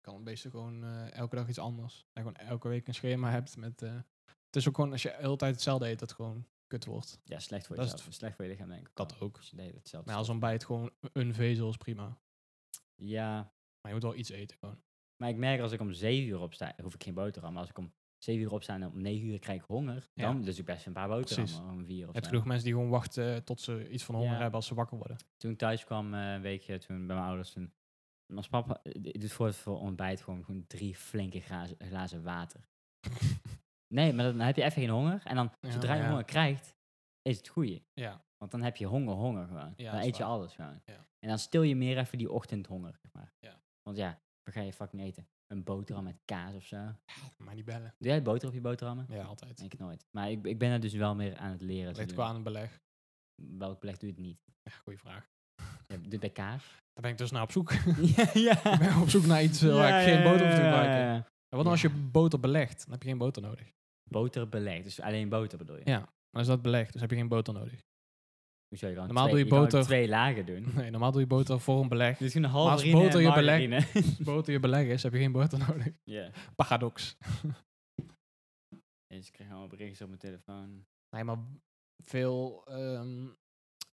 kan het beesten gewoon eh, elke dag iets anders. En gewoon elke week een schema hebt met... eh, het is ook gewoon, als je altijd hetzelfde eet, dat het gewoon kut wordt.
Ja, slecht voor
Dat is
jezelf. Slecht voor je lichaam, denk ik.
Dat
wel.
ook.
Als je deed hetzelfde.
Maar als ontbijt gewoon een vezel is prima. Maar
Ja,
je moet wel iets eten gewoon.
maar ik merk als ik om 7 uur opsta, hoef ik geen boterham. Maar als ik om 7 uur opsta en om 9 uur krijg ik honger,
Ja.
dan dus ik best een paar boterhammen. Om 4
Je
of
hebt
zo.
genoeg mensen die gewoon wachten eh, tot ze iets van honger
Ja.
hebben als ze wakker worden.
toen ik thuis kwam, eh, een weekje toen bij mijn ouders, toen was papa, eh, die doet voor, voor ontbijt gewoon, gewoon drie flinke glazen, glazen water. nee, maar dan heb je even geen honger. En dan,
Ja,
zodra
maar
je
ja.
honger krijgt, is het goeie.
Ja.
Want dan heb je honger, honger gewoon.
Ja,
dan
dat is
eet je
waar.
alles gewoon.
Ja.
En dan stil je meer even die ochtendhonger, zeg maar.
Ja.
Want ja, wat ga je fucking eten? Een boterham met kaas of zo.
Maar niet bellen.
Doe jij boter op je boterhammen?
Ja, altijd.
Ik nooit. Maar ik, ik ben er dus wel meer aan het leren. te
Ligt
doen.
qua aan het beleg.
Welk beleg doe je het niet?
Ja, goeie vraag.
Ja, doe het bij kaas?
Daar ben ik dus naar op zoek.
ja,
ik ben op zoek naar iets eh, waar ik geen boter hoef te gebruiken.
ja, ja.
En wat nou als je boter belegt? Dan heb je geen boter nodig.
Boter belegd, dus alleen boter bedoel je?
Ja. Maar is dat belegd, dus heb je geen boter nodig.
Hoezo, je kan
Normaal
twee,
doe je
kan ook
boter-
twee lagen doen.
Nee, normaal doe je boter voor een beleg.
Dus gewoon een halve
als
harine
boter
en
je beleg-
margarine.
Als boter je beleg is, heb je geen boter nodig.
Ja.
Paradox.
Dus ik krijg allemaal berichtjes op mijn telefoon.
Nee, maar veel ehm,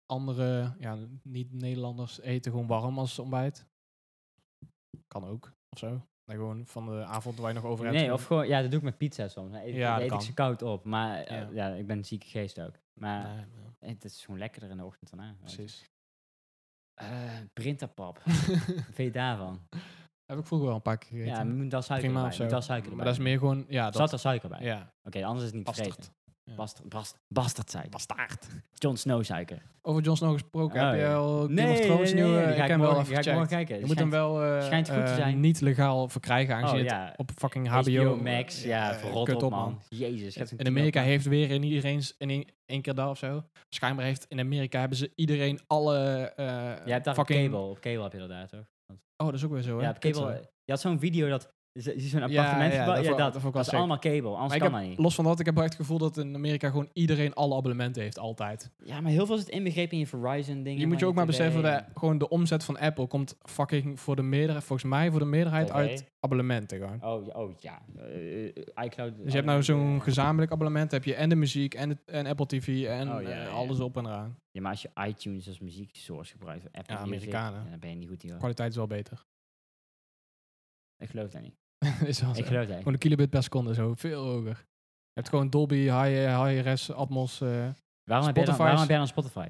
andere, ja, niet-Nederlanders eten gewoon warm als ontbijt. Kan ook, of zo. Dan gewoon van de avond waar je nog over hebt.
Nee, of gewoon, ja, dat doe ik met pizza soms. Dan eet,
Ja,
dan
dat
eet ik
kan.
ze koud op, maar eh,
Ja.
ja. ik ben een zieke geest ook. Maar
Nee, ja,
het is gewoon lekkerder in de ochtend daarna. weet je.
precies.
Eh, Printerpap, wat vind je daarvan?
heb ik vroeger wel een paar keer gegeten.
Ja, moet daar suiker
Prima
bij.
of zo.
Moet daar suiker
maar dat is meer gewoon, ja,
Zat
dat,
er suiker bij?
ja,
Oké, anders is het niet
bastard.
tevreden. Bastard, bast, bastard suiker.
Bastaard.
John Snow suiker.
Over Jon Snow gesproken,
Oh,
heb je
ja.
al Game
Nee,
of
nee,
Thrones
nee,
nieuwe?
nee, die
ik
ga
heb hem wel
morgen-
even
die ga ik
gecheckt.
morgen kijken.
Je moet hem wel eh,
schijnt goed te
eh,
zijn.
niet legaal verkrijgen aangezien
Oh,
het
ja.
op fucking
HBO,
HBO,
Max, ja,
eh,
verrot
kut
op,
op,
man.
man.
Jezus. gaat zo'n
In
tien
Amerika
op,
heeft weer in iedereen s- in één- één keer daar of zo. Schijnbaar heeft in Amerika hebben ze iedereen alle eh
man. Je hebt daar
fucking...
op cable. Op cable heb je dat daar, toch?
Oh, dat is ook weer zo, hè?
ja, op
Kut,
cable.
hè?
Je had zo'n video dat... je z- je ziet zo'n
Ja,
appartement
ja,
gebouw-
dat
Ja,
vond-
dat,
dat vond ik wel
dat is
sick.
allemaal cable. Anders
Maar ik
kan
heb,
dat niet.
los van dat, ik heb wel echt het gevoel dat in Amerika gewoon iedereen alle abonnementen heeft, altijd.
Ja, maar heel veel zit inbegrepen in je Verizon dingen.
Je moet je
van
ook maar
TV.
beseffen dat gewoon de omzet van Apple komt fucking voor de meerderheid, volgens mij voor de meerderheid
TV.
uit abonnementen gewoon.
Oh, ja, oh ja. Eh, eh, iCloud.
Dus je hebt nou zo'n gezamenlijk abonnement, heb je en de muziek en, het, en Apple TV en
Oh, ja,
eh,
ja, ja.
alles op en eraan.
Ja, maar als je iTunes als muzieksource gebruikt, Apple
Ja,
Music,
Amerikanen.
ja, dan ben je niet goed hier.
Kwaliteit is wel beter.
Ik geloof dat niet.
is wel zo.
Ik geloof dat
Gewoon
niet.
een kilobit per seconde zo, veel hoger. Je hebt gewoon Dolby, high, high res, Atmos. eh,
Waarom heb, jij dan,
Spotify's-
waarom heb jij dan Spotify?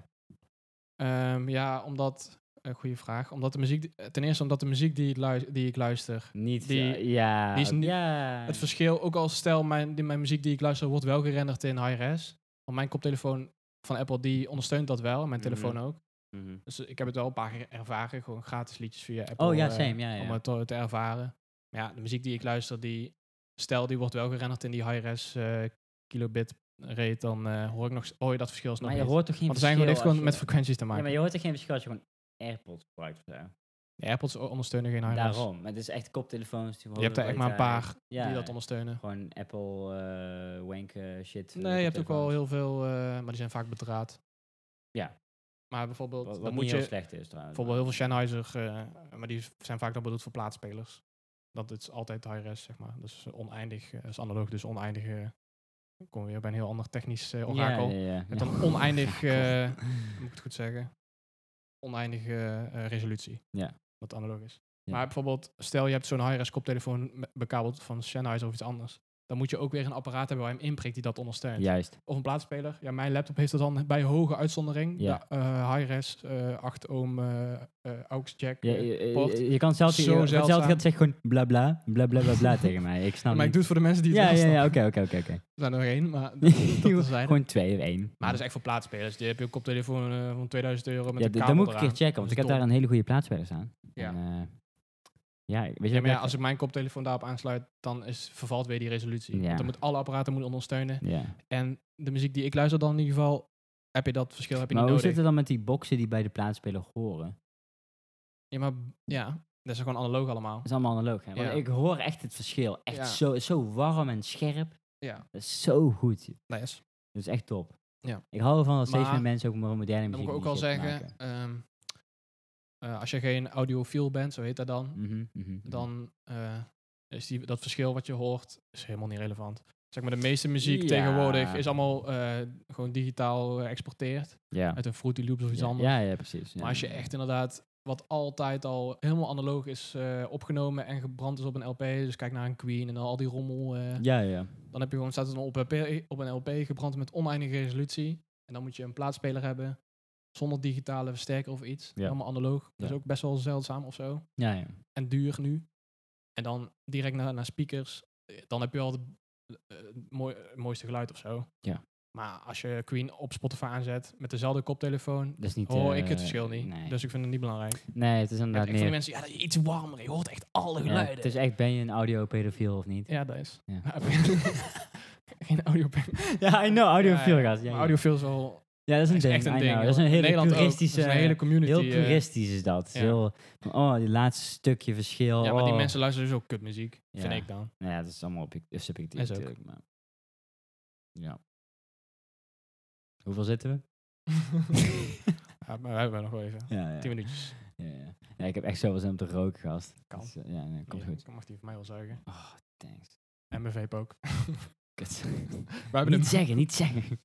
ehm, ja, omdat, een goede vraag, omdat de muziek, die- eh, ten eerste omdat de muziek die ik, lui- die ik luister,
Niet,
Die-
ja, ja.
die is niet-
ja.
het verschil, ook al stel mijn, die, mijn muziek die ik luister wordt wel gerenderd in high res, want mijn koptelefoon van Apple die ondersteunt dat wel, en mijn
Mhm.
telefoon ook.
Mhm.
Dus ik heb het wel een paar keer ervaren, gewoon gratis liedjes via Apple.
Oh ja,
eh,
same. Ja, ja.
om het te, te ervaren. Maar ja, de muziek die ik luister, die stel die wordt wel gerenderd in die high-res eh, kilobit rate, dan eh, hoor ik nog, s- hoor je dat verschil snel.
Maar je hoort toch geen
Want er zijn
verschil
gewoon heeft gewoon
als
met
je-
frequenties te
Ja,
maken. Nou,
maar je hoort toch geen verschil als je gewoon AirPods gebruikt of zo.
De AirPods o- ondersteunen geen high-res.
Daarom. Maar het is echt koptelefoons. Die eh,
Je hebt er echt maar een paar
ja,
die dat ondersteunen.
Gewoon Apple eh wank eh, shit. eh,
Nee, je hebt ook wel
koptelefoons.
heel veel, eh, maar die zijn vaak bedraad.
Ja.
Maar bijvoorbeeld,
Wat, wat
dan
niet
moet
heel
je
slecht is trouwens.
bijvoorbeeld heel veel Sennheiser, eh, maar die zijn vaak dan bedoeld voor plaatsspelers. Dat is altijd high-res, zeg maar. Dus oneindig, eh, is analoog, dus oneindig. eh, kom weer bij een heel ander technisch eh,
Ja,
orakel.
Ja, ja, ja.
Met een oneindig, eh, moet ik het goed zeggen, oneindige eh, eh, resolutie.
Ja.
Wat analoog is.
Ja.
Maar bijvoorbeeld, stel je hebt zo'n high-res koptelefoon me- bekabeld van Sennheiser of iets anders. dan moet je ook weer een apparaat hebben waar je hem inprikt die dat ondersteunt.
Juist.
Of een plaatspeler. Ja, mijn laptop heeft dat dan bij hoge uitzondering.
Ja.
De, eh, Hi-Res, eh, 8 ohm, eh, eh, aux jack.
Je,
eh,
je,
Port.
je- je kan zelf,
Zo
je,
zeldzaam.
zelf zeggen gewoon bla bla, bla bla bla bla tegen mij. Ik snap
maar ik
Nou, niet.
doe het voor de mensen die het
ja,
wel
ja, ja,
snappen.
oké, oké, oké, oké.
Er zijn er nog één, maar dat, dat zijn.
Gewoon twee of één.
Maar dat is echt voor plaatsspelers. Die heb je een koptelefoon eh, van 2000 euro met
ja,
een
d-
kabel
dat moet ik een
eraan.
keer checken,
Dat
want
is
ik heb
dom.
daar een hele goede plaatspeler staan.
Ja.
En, eh, ja, weet je
Ja,
wat
maar ja,
ik-
als ik mijn koptelefoon daarop aansluit, dan is, vervalt weer die resolutie.
Ja.
Want dan moet alle apparaten moeten ondersteunen.
Ja.
En de muziek die ik luister dan in ieder geval, heb je dat verschil heb je
Maar hoe
niet
zit
nodig.
het dan met die boxen die bij de plaatspeler horen?
Ja, maar ja, dat is gewoon analoog allemaal.
Dat is allemaal analoog. Hè? Want
Ja.
ik hoor echt het verschil. Echt
Ja.
zo, zo warm en scherp.
Ja,
Dat is zo goed.
dat is.
Dat is echt top.
Ja.
Ik hou ervan dat steeds
Maar-
meer mensen ook maar moderne
Dan
muziek
moet ik ook al
die shit
zeggen,
maken.
ehm, eh, als je geen audiofiel bent, zo heet dat dan,
Mhm, mhm, mhm.
dan eh, is die, dat verschil wat je hoort is helemaal niet relevant. Zeg maar, de meeste muziek
Ja.
tegenwoordig is allemaal eh, gewoon digitaal eh, geëxporteerd.
ja.
Uit een Fruity Loops of iets
ja.
anders.
Ja, ja, precies. ja.
Maar als je echt inderdaad, wat altijd al helemaal analoog is eh, opgenomen en gebrand is op een LP, dus kijk naar een Queen en al die rommel, eh,
Ja, ja.
dan heb je gewoon staat het op, een LP op een LP gebrand met oneindige resolutie. En dan moet je een plaatspeler hebben zonder digitale versterker of iets.
Ja.
Helemaal analoog. Dat is
Ja.
ook best wel zeldzaam of zo.
Ja, ja.
En duur nu. En dan direct naar, naar speakers. eh, Dan heb je al de- eh, het mooi, het mooiste geluid of zo.
Ja.
Maar als je Queen op Spotify aanzet met dezelfde koptelefoon,
Dat is niet...
hoor
eh,
Oh, ik het verschil niet.
Nee,
Dus ik vind het niet belangrijk.
nee het is
Ja,
inderdaad
ik vond
meer...
die mensen, ja, dat is iets warmer. Je hoort echt alle
Ja,
geluiden.
het is echt, ben je een audio-pedofiel of niet?
Ja, dat is.
Ja.
Geen audio.
Ja, I know, audiofiel,
ja.
gast. Ja,
Maar
ja.
audiofiel is wel
Ja, dat is een
is
ding.
echt een
I
ding.
know.
joh.
Dat is een
In
hele
Nederland ook. Dat is
toeristische...
een hele community.
Heel
eh,
toeristisch is dat. Het is
ja.
Heel, van, oh, die laatste stukje verschil.
ja, maar die
oh.
mensen luisteren dus ook kutmuziek. Vind
Ja.
ik dan.
Nou ja, dat is allemaal object- eh, subjectief
Is ook.
natuurlijk. Maar... Ja. Hoeveel zitten we?
ja, maar we hebben nog wel even.
Ja, ja.
Tien minuutjes.
Ja, ja. Ja, ik heb echt zoveel zin om te roken, gast.
Kan.
Dus, eh, ja, nee, komt
Ja,
goed.
Ik mag die van mij wel zuigen.
Oh, thanks.
En mijn vape ook.
Kut.
We hebben
niet
hem.
zeggen, niet zeggen.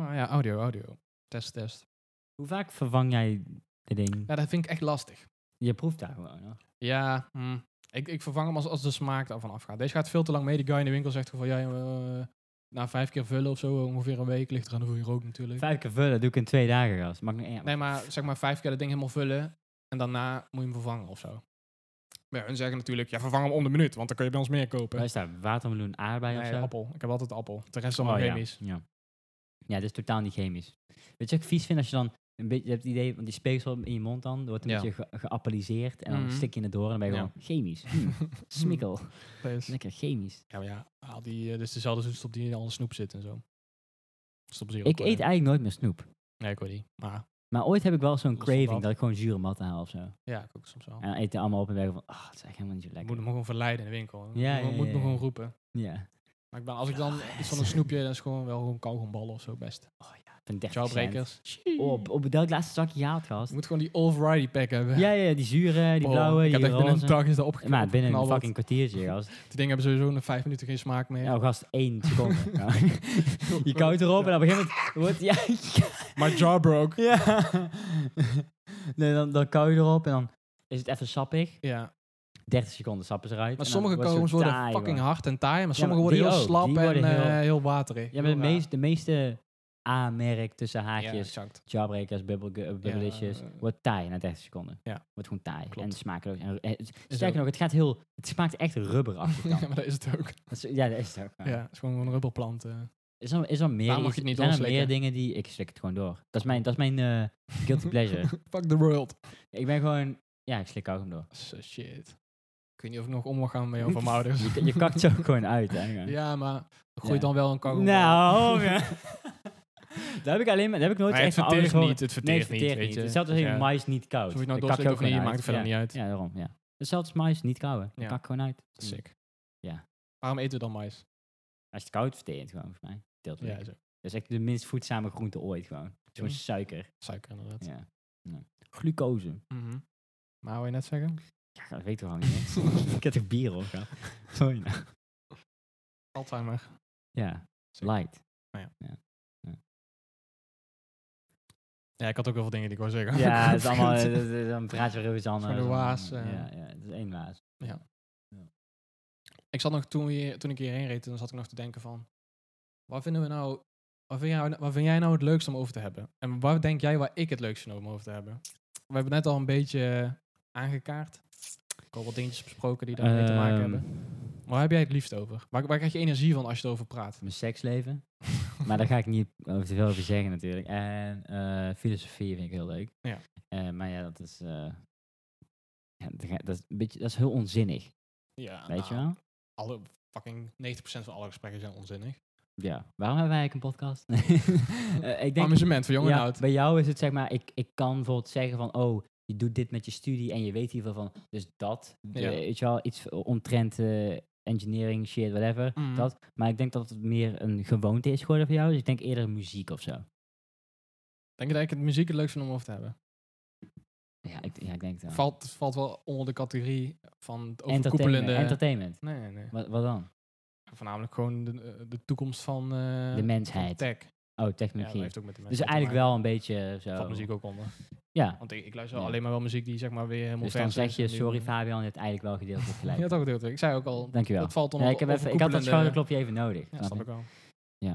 Maar ja, audio, audio. Test, test.
Hoe vaak vervang jij de ding?
Ja, dat vind ik echt lastig.
Je proeft daar gewoon, hoor.
Ja, hm. ik, ik vervang hem als, als de smaak daarvan afgaat. Deze gaat veel te lang mee. Die guy in de winkel zegt van, ja, eh, na vijf keer vullen of zo, ongeveer een week. Ligt eraan hoeveel je rookt natuurlijk.
Vijf keer vullen doe ik in twee dagen, gast. Mag ik nog één?
Nee, maar zeg maar vijf keer dat ding helemaal vullen en daarna moet je hem vervangen of zo. Maar ja, hun zeggen natuurlijk, ja, vervang hem om de minuut, want dan kun je bij ons meer kopen.
Waar is daar? Watermeloen, aardbei of
Nee,
zo?
appel. Ik heb altijd appel. De rest is allemaal
Oh,
chemisch.
Ja. ja. Ja, het is totaal niet chemisch. Weet je wat ik vies vind als je dan een beetje, je hebt het idee, want die speeksel in je mond dan, er wordt een
Ja.
beetje ge- geappelliseerd en dan
Mhm.
stik je het door en dan ben je
Ja.
gewoon chemisch. Hm, Smikkel. Lekker chemisch.
Ja, maar ja, haal die, eh, dus dezelfde zoetstop die in alle snoep zit en zo. Stop zero.
Ik eet eigenlijk nooit meer snoep.
Nee, ik weet niet. Maar
Maar ooit heb ik wel zo'n
Dat is wel
craving
wat. Oh.
dat ik gewoon zure matten haal of zo. En
ja, ik ook soms wel.
dan eet ik die allemaal op en ben ik van, ah, het is echt helemaal niet zo
Ik
lekker.
moet hem gewoon verleiden in de winkel.
Ja,
ik moet,
ja,
moet
ja,
me
ja.
gewoon roepen.
Ja.
Maar ik ben, als ik dan iets van een snoepje, dan is gewoon wel gewoon kauwgomballen of zo best.
Van 30 cent.
Jawbreakers.
Op, op dat laatste zakje gehaald,
Je
gast.
moet gewoon die all pack hebben.
Ja, ja, die zure, die
Oh,
blauwe,
Ik
die
heb echt binnen een
roze.
dag is dat opgeknapt.
Maar binnen een
opgeknabbeld.
fucking kwartiertje, gast.
Die dingen hebben sowieso na vijf minuten geen smaak meer.
Ja, gast, één seconde. Ja. Je koudt erop en op een gegeven moment wordt... Ja,
My jaw broke.
ja. Nee, dan, dan kauw je erop en dan is het even sappig.
Ja.
30 seconden sap is eruit.
Maar
en dan
sommige
wordt het
kauwgoms
zo
worden
taai,
fucking
man.
hard en taai, maar sommige
maar
worden
die
heel
ook.
slap
Die
en
worden
eh, heel,
heel-
waterig.
Ja, maar de,
Heel raar.
meest, de meeste A-merk tussen
Ja,
haakjes,
exact.
jawbreakers, bubble- gu- bubbelicious,
eh.
wordt taai na 30 seconden.
Ja.
Wordt gewoon taai
Klopt.
en smakeloos. En, en-
ook.
sterker nog, het gaat heel... Het smaakt echt rubberachtig dan.
ja, maar dat is het ook.
Dat is- ja, dat is het ook.
Ja, het is gewoon een rubberplant. eh.
Is er, is er meer,
Waarom mag
iets-
je het niet
zijn er
doorslikken?
meer dingen die... Ik slik het gewoon door. Dat is mijn, dat is mijn eh, guilty pleasure.
Fuck the world.
Ik ben gewoon... Ja, ik slik kauwgom door.
So, shit. Ik weet niet of ik nog om mag gaan met jou van mijn ouders.
Je, je kakt zo gewoon uit, hè. gewoon.
Ja, maar groeit
Ja.
dan wel een kauwgom.
Nou, ja. dat heb ik alleen maar... Dat heb ik nooit
Maar het
echt van ouders
verteert
gehoord.
niet, het
Nee, het
verteert niet,
verteert
weet
niet.
je.
Hetzelfde als
Dus
je
ja,
mais niet koud.
Of je het nou
Dan kak
doorslikt of
gewoon
niet,
uit.
maakt het verder
Ja.
niet uit.
Ja, daarom, ja. Hetzelfde als mais niet kauwen.
Ja.
Ja. Kak gewoon uit.
Dat is sick.
Ja.
Waarom eten we dan mais?
Als je het koud verteert, gewoon, volgens mij. Deelt
Ja,
dat
is ook
is echt de minst voedzame groente ooit, gewoon. Zo'n
Ja.
suiker.
suiker inderdaad.
Ja. Ja. Glucose.
Mhm. Maar wou je net zeggen?
Ja, dat weet ik toch al niet, hè? Ik heb toch bier op, gehad? Sorry nou.
Alzheimer.
Ja,
Sick.
light.
Ja, ik had ook heel veel dingen die ik wou zeggen.
Ja, het is allemaal... eh, Dan praat je weer over iets anders.
Zo'n waas,
Ja,
eh.
ja, het is één waas.
Ja. Ik zat nog toen, we hier- toen ik hierheen reed, toen zat ik nog te denken van... Waar vinden we nou... Waar vind, jij, waar vind jij nou het leukste om over te hebben? En waar denk jij waar ik het leukste vind om over te hebben? We hebben net al een beetje aangekaart. Ik al wat dingetjes besproken die daarmee te maken hebben.
Ehm,
Waar heb jij het liefst over? Waar, waar krijg je energie van als je erover praat?
Mijn seksleven. maar daar ga ik niet over te veel over zeggen natuurlijk. En eh, filosofie vind ik heel leuk.
Ja.
Eh, maar ja, dat is... eh, ja, dat ga- dat, is een beetje, dat is heel onzinnig,
Ja, nou,
weet je wel?
Alle, fucking 90% van alle gesprekken zijn onzinnig.
Ja. Waarom hebben wij eigenlijk een podcast? Eh, ik denk,
Amusement voor jong en
ja,
oud.
bij jou is het zeg maar, ik, ik kan bijvoorbeeld zeggen van, oh, je doet dit met je studie en je weet hiervan van, dus dat, de-
Ja.
weet je wel, iets omtrent eh, engineering, shit, whatever,
Mhm.
dat. Maar ik denk dat het meer een gewoonte is geworden voor jou, dus ik denk eerder muziek of zo.
Denk je dat ik het muziek het leukst vind om over te hebben?
Ja, ik, ja, ik denk dat.
Valt, valt wel onder de categorie van het
entertainment.
overkoepelende...
entertainment.
nee, nee, nee.
Wat, wat dan?
Voornamelijk gewoon de, eh, de toekomst van... eh,
de mensheid.
van tech.
oh,
Ja, dat
technologie.
heeft ook met de
dus
mensheid te
eigenlijk
maken.
wel een beetje eh, zo.
Valt muziek ook onder.
Ja.
Want ik, ik luister
Ja.
alleen maar wel muziek die zeg maar weer helemaal
Dus
vers
dan
is
zeg je,
en die-
sorry Fabian, je hebt eigenlijk wel gedeeltelijk gelijk.
Ja, toch Ik zei ook al,
Dankjewel.
dat valt onder
Ja, ik, heb
de
even, ik had dat
overkoepelende-
schouderklopje even nodig.
Ja,
snap
snap
je?
ik wel.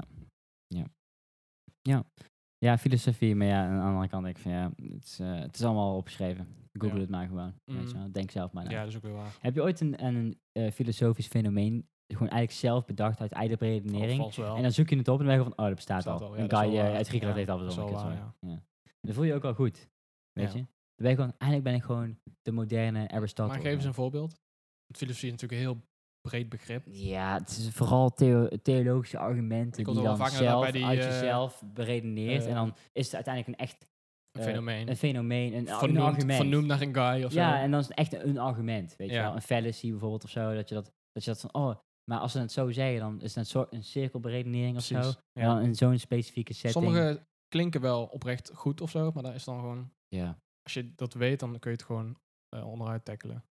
Ja, filosofie, maar ja, aan de andere kant denk ik van ja, het is, eh, het is allemaal al opgeschreven. Google
Ja.
het maar gewoon. Weet je
Mm.
wel. Denk zelf maar na.
Ja, dat is ook weer waar.
Heb je ooit een, een eh, filosofisch fenomeen gewoon eigenlijk zelf bedacht uit eigen
Of
redenering?
valt wel.
En dan zoek je het op en dan denk je van, oh, dat bestaat
Bestaat
al.
al, ja,
een
dat is
guy
wel
eh,
waar.
uit Griekenland
Ja,
heeft altijd
dat
al
is
een
wel
keer
waar,
zo'n- ja. En dan voel je je ook wel goed, weet
Ja.
je. Dan ben je gewoon, eigenlijk ben ik gewoon de moderne Aristotle.
Maar geef eens een voorbeeld. Want filosofie is natuurlijk een heel breed begrip.
Ja, het is vooral theo- theologische argumenten
Die
die,
komt wel
dan
vaker inderdaad
zelf
bij die,
uit
eh,
jezelf beredeneert.
eh,
en dan is het uiteindelijk een echt
Een
eh,
fenomeen.
een fenomeen, een, een
vernoemd,
argument.
vernoemd naar een guy of zo.
ja, en dan is het echt een, een argument, weet je
Ja.
wel. Een fallacy bijvoorbeeld of zo, dat je dat, dat je dat van, oh, maar als ze het zo zeggen, dan is het een soort een cirkelberedenering of zo.
Precies,
En
ja.
dan in zo'n specifieke setting.
Sommige klinken wel oprecht goed of zo, maar daar is dan gewoon...
Ja,
Als je dat weet, dan kun je het gewoon eh, onderuit tackelen.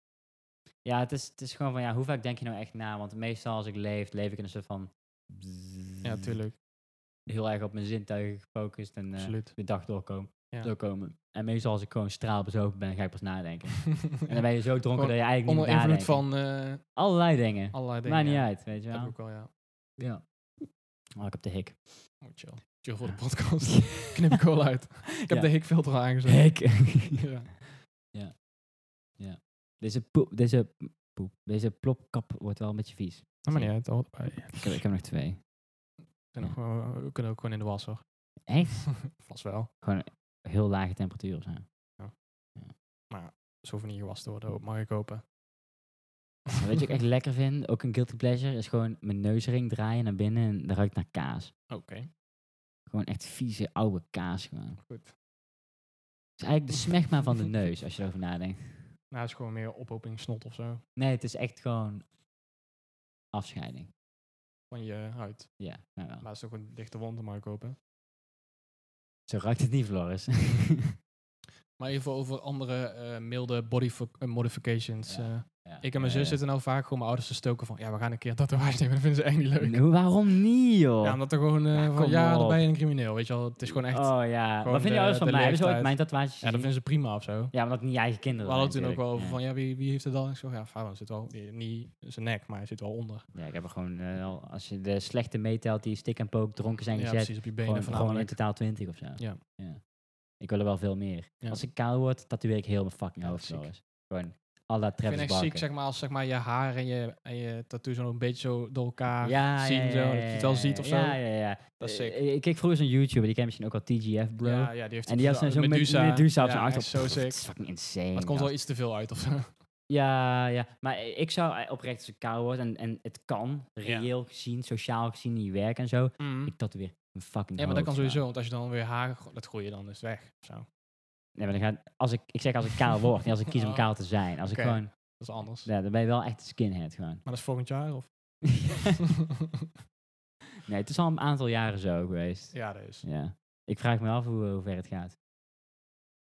ja het, is, het is gewoon van, ja, hoe vaak denk je nou echt na? Want meestal als ik leef, leef ik in een soort van... Mm.
Ja, tuurlijk.
Heel erg op mijn zintuigen gefocust en eh
Absoluut.
de dag doorkomen.
Ja.
doorkomen. En meestal als ik gewoon straalbezogen ben, ga ik pas nadenken. En dan ben je zo dronken
Gewoon
dat je eigenlijk niet
Onder
meer
invloed
nadenkt.
van eh,
Allerlei dingen.
allerlei dingen.
Maakt niet
ja.
uit, weet je
Dat heb ik
wel.
ook wel, ja.
Ja. Oh, ik heb de hik.
Oh, chill. Chill voor de podcast. Knip ik wel uit. Ik heb
Ja.
de hikfilter al aangezet.
Hik.
Ja.
deze poep, deze poep, deze plopkap wordt wel een beetje vies.
Maar niet uit, hoort erbij.
Ik heb, ik heb nog twee.
We kunnen ook gewoon- eh, We kunnen ook gewoon in de was, hoor.
Echt?
Vast wel.
Heel lage temperatuur of zo.
Ze hoeven niet gewassen te worden, hoop- mag ik hopen.
Maar Weet je wat ik echt lekker vind? Ook een guilty pleasure is gewoon mijn neusring draaien naar binnen en dat ruikt naar kaas.
Oké,
Gewoon echt vieze oude kaas gewoon.
goed.
Het is eigenlijk de smegma van de neus als je erover nadenkt.
Nou, het is gewoon meer ophoping snot of zo
Nee, het is echt gewoon afscheiding.
van je huid.
Ja, nou wel.
Maar het is ook een dichte wond, dat mag ik hopen.
Zo ruikt het niet, Floris.
Maar even over andere eh, milde body fo- eh, modifications.
Ja.
eh.
Ja,
ik en mijn
ja,
zus
ja.
zitten nou vaak gewoon mijn ouders te stoken van... Ja, we gaan een keer een tatoeage nemen, dat vinden ze echt niet leuk.
Nee, waarom niet, joh?
Ja, omdat er gewoon eh,
Ja,
van...
kom
Ja, dan
op.
ben je een crimineel, weet je wel. Het is gewoon echt...
Oh ja,
gewoon
wat vinden
de-
je ouders van
de
mij? Hebben ze ooit
leeftijd.
mijn tatoeages
ja,
gezien?
dat vinden ze prima of zo.
Ja, omdat het niet je eigen kinderen
We hadden het
zijn
toen ook wel over van...
natuurlijk.
Ja, wie, wie heeft het dan? Ik zeg, ja, Fabian zit wel... die- Niet zijn nek, maar hij zit wel onder.
Ja, Ja, ik heb er gewoon, eh, al- als je de slechte meetelt die stik en pook dronken zijn
Ja,
gezet,
precies, op je
gewoon,
benen
gewoon in
voornamelijk.
totaal 20 of zo.
Ja.
Ik wil er wel veel meer.
Ja.
Als ik kaal word, tatoeëer ik heel mijn fucking
Ja,
hoofd,
ziek.
Floris. Gewoon, à la
Ik
Travis
vind het echt
Barker.
ziek, zeg maar, als zeg maar, je haar en je, en je tattoo zo een beetje zo door elkaar zien. zo, dat je het wel
ja,
ziet of zo.
Ja, ja, ja.
Dat is
Eh,
sick.
eh, Ik keek vroeger zo'n YouTuber, die ken misschien ook wel TGF, bro.
Ja, ja, die heeft
En die had zo'n zo'n Medusa, Medusa op zijn
ja,
achterhoofd.
echt zo
Pff,
sick.
Het is fucking insane.
Maar het komt
gast.
wel iets te veel uit of zo.
Ja, ja. Maar eh, ik zou eh, oprecht als ik koud word en, en het kan, reëel gezien, sociaal gezien, niet werken en zo.
Mhm.
Ik dat weer een fucking
Hm. Ja, maar dat kan
hoofd,
sowieso,
man.
want als je dan weer haar, gro- dat groei je dan dus weg. of Zo.
Nee, maar dan gaat, als ik, ik zeg als ik kaal word, niet als ik kies om
Oh.
kaal te zijn. Als
Oké.
ik gewoon,
Dat is anders.
ja, dan ben je wel echt een skinhead gewoon.
Maar dat is volgend jaar of?
nee, het is al een aantal jaren zo geweest. Ja.
ja, dat is.
Ik vraag me af hoe, hoe ver het gaat.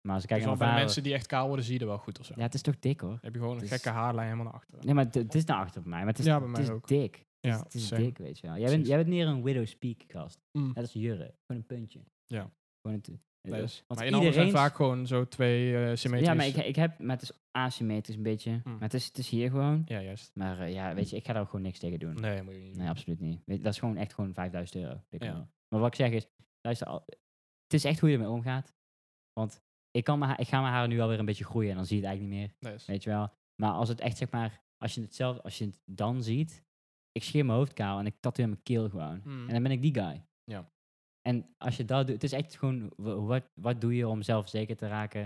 Maar als ik kijk
Kijk,
naar
bij de
mijn
mensen die echt kaal worden, zie je er wel goed of zo.
Ja, het is toch dik hoor.
Dan heb je gewoon een
Het is-
gekke haarlijn helemaal naar achteren.
Nee, maar het, het is naar achter bij mij. Maar het is,
Ja, bij mij
het is
ook.
dik. Het is-
Ja,
het is
sick.
dik, weet je wel. Jij bent,
Precies.
jij bent meer een widow's peak gast.
Mm.
Net als Jurre. Gewoon een puntje.
Ja.
Gewoon een t-
Nee, dus.
Want
Maar in handen zijn
iedereen-
vaak gewoon zo twee eh symmetrische...
Ja, maar ik, ik heb, maar het is asymmetrisch een beetje. Maar het is, het is hier gewoon.
Mm. Ja, Mm. juist.
Maar eh, ja, weet je, ik ga daar ook gewoon niks tegen doen.
Nee, moet je niet doen.
Nee, absoluut niet. Weet- dat is gewoon echt gewoon 5000 euro. Dikke
Ja.
nul. Maar wat ik zeg is, luister, al- het is echt hoe je ermee omgaat. Want ik, kan mijn, ha- ik ga mijn haren nu alweer een beetje groeien en dan zie je het eigenlijk niet meer.
Nee, is-
Weet je wel. Maar als het echt zeg maar, als je het zelf, als je het dan ziet, ik scheer mijn hoofd kaal en ik tatoeëer mijn keel gewoon.
Hmm.
En dan ben ik die guy.
Ja.
En als je dat doet, het is echt gewoon, wa- wat, wat doe je om zelf zeker te raken?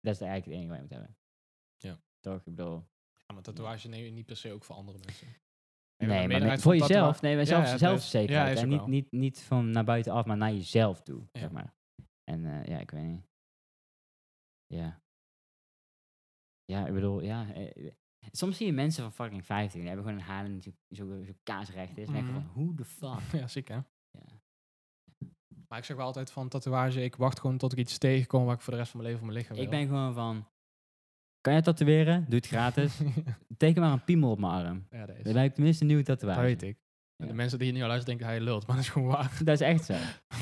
Dat is eigenlijk het enige wat je moet hebben.
Ja.
Toch? Ik bedoel,
Ja, maar tatoeage neem je niet per se ook voor andere mensen. Nee,
Nee, maar
meerderheid
met- voor
van tattoo-
jezelf. Nee, maar
Ja,
zelf,
ja,
zelfzekerheid.
ja, is
en
ook
niet,
wel.
niet, niet van naar buitenaf, maar naar jezelf toe,
Ja.
zeg maar. En eh, ja, ik weet niet. Ja. Ja, ik bedoel, ja. eh, eh, soms zie je mensen van fucking 15, die hebben gewoon een haar die zo, zo, zo kaasrecht is. En denk je van,
Mhm.
hoe de fuck?
Ja, ziek hè?
Ja.
Maar ik zeg wel altijd van tatoeage, ik wacht gewoon tot ik iets tegenkom waar ik voor de rest van mijn leven op mijn lichaam
Ik ben gewoon van, kan jij tatoeëren? Doe het gratis.
ben... dus-
Teken maar een piemel op mijn arm.
ja, dat is.
Dan lijkt tenminste een nieuwe
Dat
tatoeage.
weet ik.
Ja.
De mensen die hier nu al luisteren denken, hij lult, maar dat is gewoon waar.
Dat is echt zo.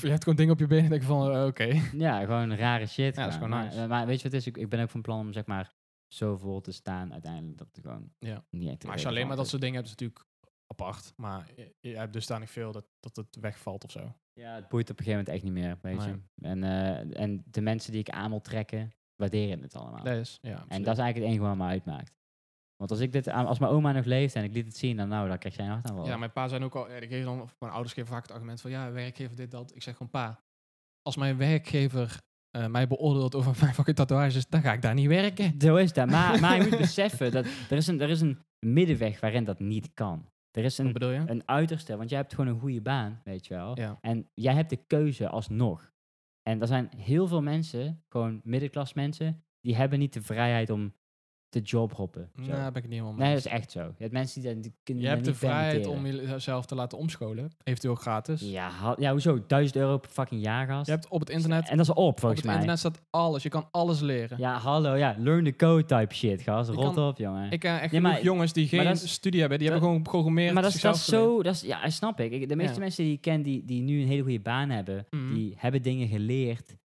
je hebt gewoon dingen op je benen en denk van, eh, oké.
Ja, gewoon rare shit.
Ja, dat is
gewoon.
gewoon
maar,
nice.
maar weet je wat het is? Ik, ik ben ook van plan om zeg maar zo vol te staan uiteindelijk dat het gewoon
Ja.
niet echt
Maar als je alleen maar dat soort dingen hebt, is het natuurlijk apart. Maar je, je hebt dus daar niet veel dat, dat het wegvalt of zo.
Ja, het boeit op een gegeven moment echt niet meer, weet je. En, eh, en de mensen die ik aan wil trekken, waarderen het allemaal.
Dat is, ja.
en
absoluut.
dat is eigenlijk het enige wat me uitmaakt. Want als, ik dit aan, als mijn oma nog leeft en ik liet het zien, dan nou, dan krijg jij een hartaanval.
Ja, mijn pa zijn ook al, ja, die geven dan, of mijn ouders geven vaak het argument van, ja, werkgever dit, dat. Ik zeg gewoon, pa, als mijn werkgever eh, mij beoordeelt over mijn fucking tatoeages, dan ga ik daar niet werken.
Zo is dat. Maar, maar je moet beseffen, dat er is, een, er is een middenweg waarin dat niet kan. Er is
Wat
een,
bedoel je?
een uiterste, want jij hebt gewoon een goede baan, weet je wel.
Ja.
En jij hebt de keuze alsnog. En er zijn heel veel mensen, gewoon middenklas mensen, die hebben niet de vrijheid om te jobhoppen.
Nou,
zo.
daar ben ik het niet helemaal mee
nee, dat
eens.
is echt zo. Je hebt mensen die, dat- die kunnen
Je
dat
hebt de
niet
vrijheid om
permitteren.
jezelf te laten omscholen, eventueel gratis.
Ja, ha- ja, hoezo? 1000 euro per fucking jaar, gast.
Je hebt op het internet,
en dat is op,
op
volgens
het
mij.
internet staat alles. Je kan alles leren.
Ja, hallo, ja. Learn the code type shit, gast.
Je
Rot
kan-
op, jongen.
Ik ken echt
Nee, maar-
genoeg jongens die geen
dat is-
studie hebben, die
dat-
hebben gewoon programmeren.
maar dat is, dat
zichzelf
is zo...
geleerd.
Dat is, ja, snap ik. ik de meeste
Ja.
mensen die ik ken die, die nu een hele goede baan hebben,
Mhm.
die hebben dingen geleerd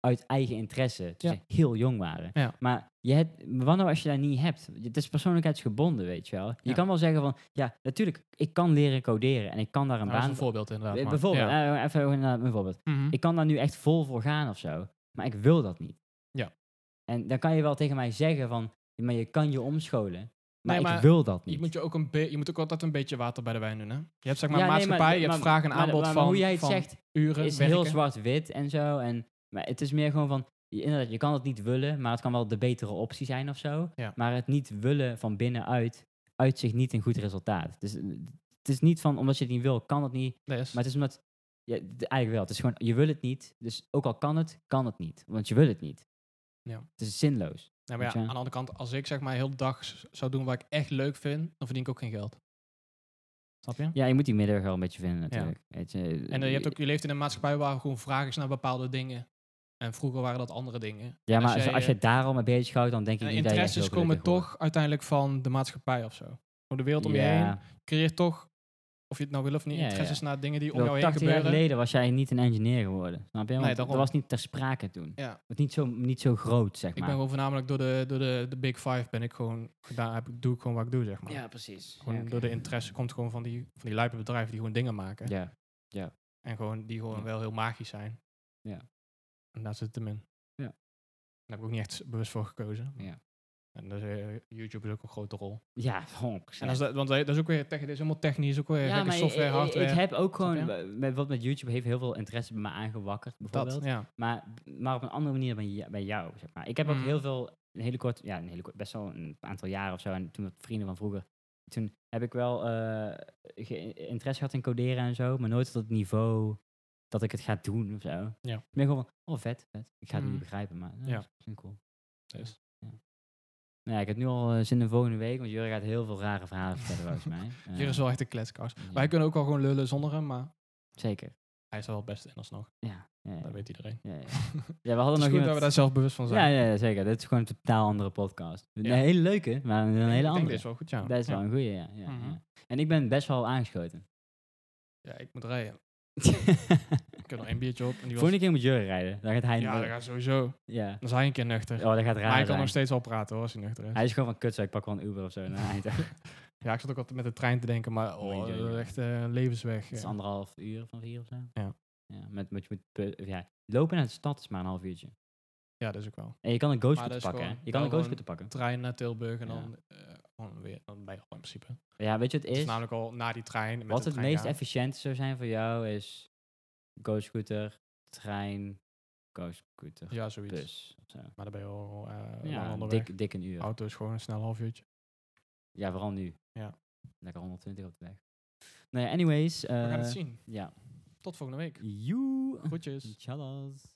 uit eigen interesse. Toen
Ja.
ze heel jong waren.
Ja.
Maar je hebt, wat nou als je dat niet hebt? Het is persoonlijkheidsgebonden, weet je wel. Je
Ja.
kan wel zeggen van, ja, natuurlijk, ik kan leren coderen en ik kan daar een
Nou, dat is
baan...
een voorbeeld inderdaad. maar-
bijvoorbeeld,
ja.
eh, even een, eh, een voorbeeld.
Mhm.
Ik kan daar nu echt vol voor gaan of zo, maar ik wil dat niet.
Ja.
En dan kan je wel tegen mij zeggen van, ja, maar je kan je omscholen, maar,
maar
ik wil dat niet.
Je moet, je, ook een be- je moet ook altijd een beetje water bij de wijn doen. Hè? Je hebt zeg maar
Ja, nee, maar-
maatschappij, je hebt
maar-
vraag en
maar-
aanbod
maar
van,
hoe jij het
van
zegt,
uren,
is
werken.
heel zwart-wit en zo. En, maar het is meer gewoon van, je- inderdaad, je kan het niet willen, maar het kan wel de betere optie zijn of zo.
Ja.
Maar het niet willen van binnenuit, uit zich niet een goed resultaat. Dus eh, het is niet van, omdat je het niet wil, kan het niet.
Dat is-
Maar het is omdat, ja, d- eigenlijk wel, het is gewoon, je wil het niet. Dus ook al kan het, kan het niet. Want je wil het niet.
Ja.
Het is zinloos.
Ja, maar
Weet
ja,
je?
aan de andere kant, als ik zeg maar heel de dag s- zou doen wat ik echt leuk vind, dan verdien ik ook geen geld. Snap je?
Ja, je moet die middenweg wel een beetje vinden natuurlijk. Weet je,
En eh, je, hebt ook, je leeft in een maatschappij waar gewoon vraag is naar bepaalde dingen. En vroeger waren dat andere dingen.
ja, maar
en als
als,
jij,
als
eh,
je daar al mee bezig houdt, dan denk ik
En
niet dat je echt
Eh, interesses
heel gelukkig
komen toch
wordt.
uiteindelijk van de maatschappij of zo. Gewoon de wereld om je
Ja.
heen creëert toch, of je het nou wil of niet,
Ja, ja,
interesses naar dingen die om
Wel,
jou heen
80 jaar
gebeuren.
geleden was jij niet een engineer geworden. Snap je? Want
Nee,
dat
daarom.
was niet ter sprake toen.
Ja.
Het niet zo, niet zo groot, zeg
Ik ben
maar.
gewoon voornamelijk door de, door de, de Big Five ben ik gewoon gedaan, heb, ik- doe ik gewoon wat ik doe, zeg maar.
ja, precies.
Gewoon door de interesse komt gewoon van die, van die lijpe bedrijven die gewoon dingen maken.
Ja,
En gewoon, die gewoon
Ja.
wel heel magisch zijn.
Ja.
En daar zit het hem in.
Ja.
Daar heb ik ook niet echt s- bewust voor gekozen.
Ja.
En dus, eh, YouTube is ook een grote rol.
ja oh, honk.
En als dat, want dat is ook weer tech, dit is helemaal technisch, ook weer
ja,
gekke
maar
software,
ik, ik-
hardware.
ik heb ook
Snap je?
gewoon, met, wat met YouTube heeft heel veel interesse bij me aangewakkerd, bijvoorbeeld.
dat, ja.
Maar, maar op een andere manier bij, j- bij jou, zeg maar. Ik heb ook
Mhm.
heel veel, een hele kort, ja, een hele kort, best wel een aantal jaren of zo, en toen met vrienden van vroeger, toen heb ik wel eh, ge- interesse gehad in coderen en zo, maar nooit tot het niveau dat ik het ga doen of zo.
Ja.
Meer gewoon van, oh vet, vet. Ik ga het
Mhm.
niet begrijpen, maar ja.
Ja.
dat is misschien cool.
Dus.
Nou ja, ik heb nu al eh, zin in volgende week, want jullie gaat heel veel rare verhalen vertellen volgens mij. Eh,
Hier is wel echt een kletskast.
ja,
Wij kunnen ook al gewoon lullen zonder hem, maar
Zeker,
hij is er wel best in alsnog.
ja. Ja, ja.
Dat weet iedereen.
ja, ja. Ja, we hadden
Het is
nog
goed
iemand...
dat we daar zelf bewust van zijn.
ja, ja, ja, zeker. Dit is gewoon een totaal andere podcast. Een
Ja.
hele leuke, maar een
Ik
hele
denk
andere.
dit is wel goed, ja.
Dat is
Ja.
wel een goeie, ja. ja,
Mhm.
ja. En ik ben best wel aangeschoten.
Ja, ik moet rijden. Ik heb nog één biertje op. En die was,
Volgende keer moet Jurre rijden. Dan gaat hij...
ja, dat gaat sowieso.
ja.
Dan is hij een keer nuchter.
Oh, dat gaat
maar hij
raar
kan nog
zijn.
steeds al praten hoor, als hij nuchter is.
Hij is gewoon van kut, zo, ik pak wel een Uber of zo naar Eindhoven.
Ja, ik zat ook altijd met de trein te denken, maar
Oei,
oh,
oei,
dat
oei.
is echt eh, levensweg.
Het is
ja.
anderhalf uur van vier of zo.
Ja.
ja met, met, met, pe- ja. Lopen naar de stad is maar een half uurtje.
Ja, dat is ook wel.
En je kan een
Maar
ghostboot
dat is
pakken. hè.
gewoon-
Je kan een
wel
ghostboot pakken.
Trein naar Tilburg en
Ja.
dan, eh, gewoon weer, dan ben je al in principe.
Ja, weet je wat het
Het is
is?
namelijk al na die trein. Met
Wat
de
het
trein
meest
gaan.
efficiënt zou zijn voor jou is go-scooter, trein, go-scooter,
Ja, zoiets.
bus. Of zo.
Maar dan ben je al eh lang
Dus. Ja,
onderweg.
dik, dik een uur.
Auto is gewoon een snel half uurtje.
Ja, vooral nu.
Ja.
Lekker 120 op de weg. Nou ja, anyways.
We gaan het
eh,
zien.
Ja.
Tot volgende week.
Joe.
Groetjes.
Tjallas.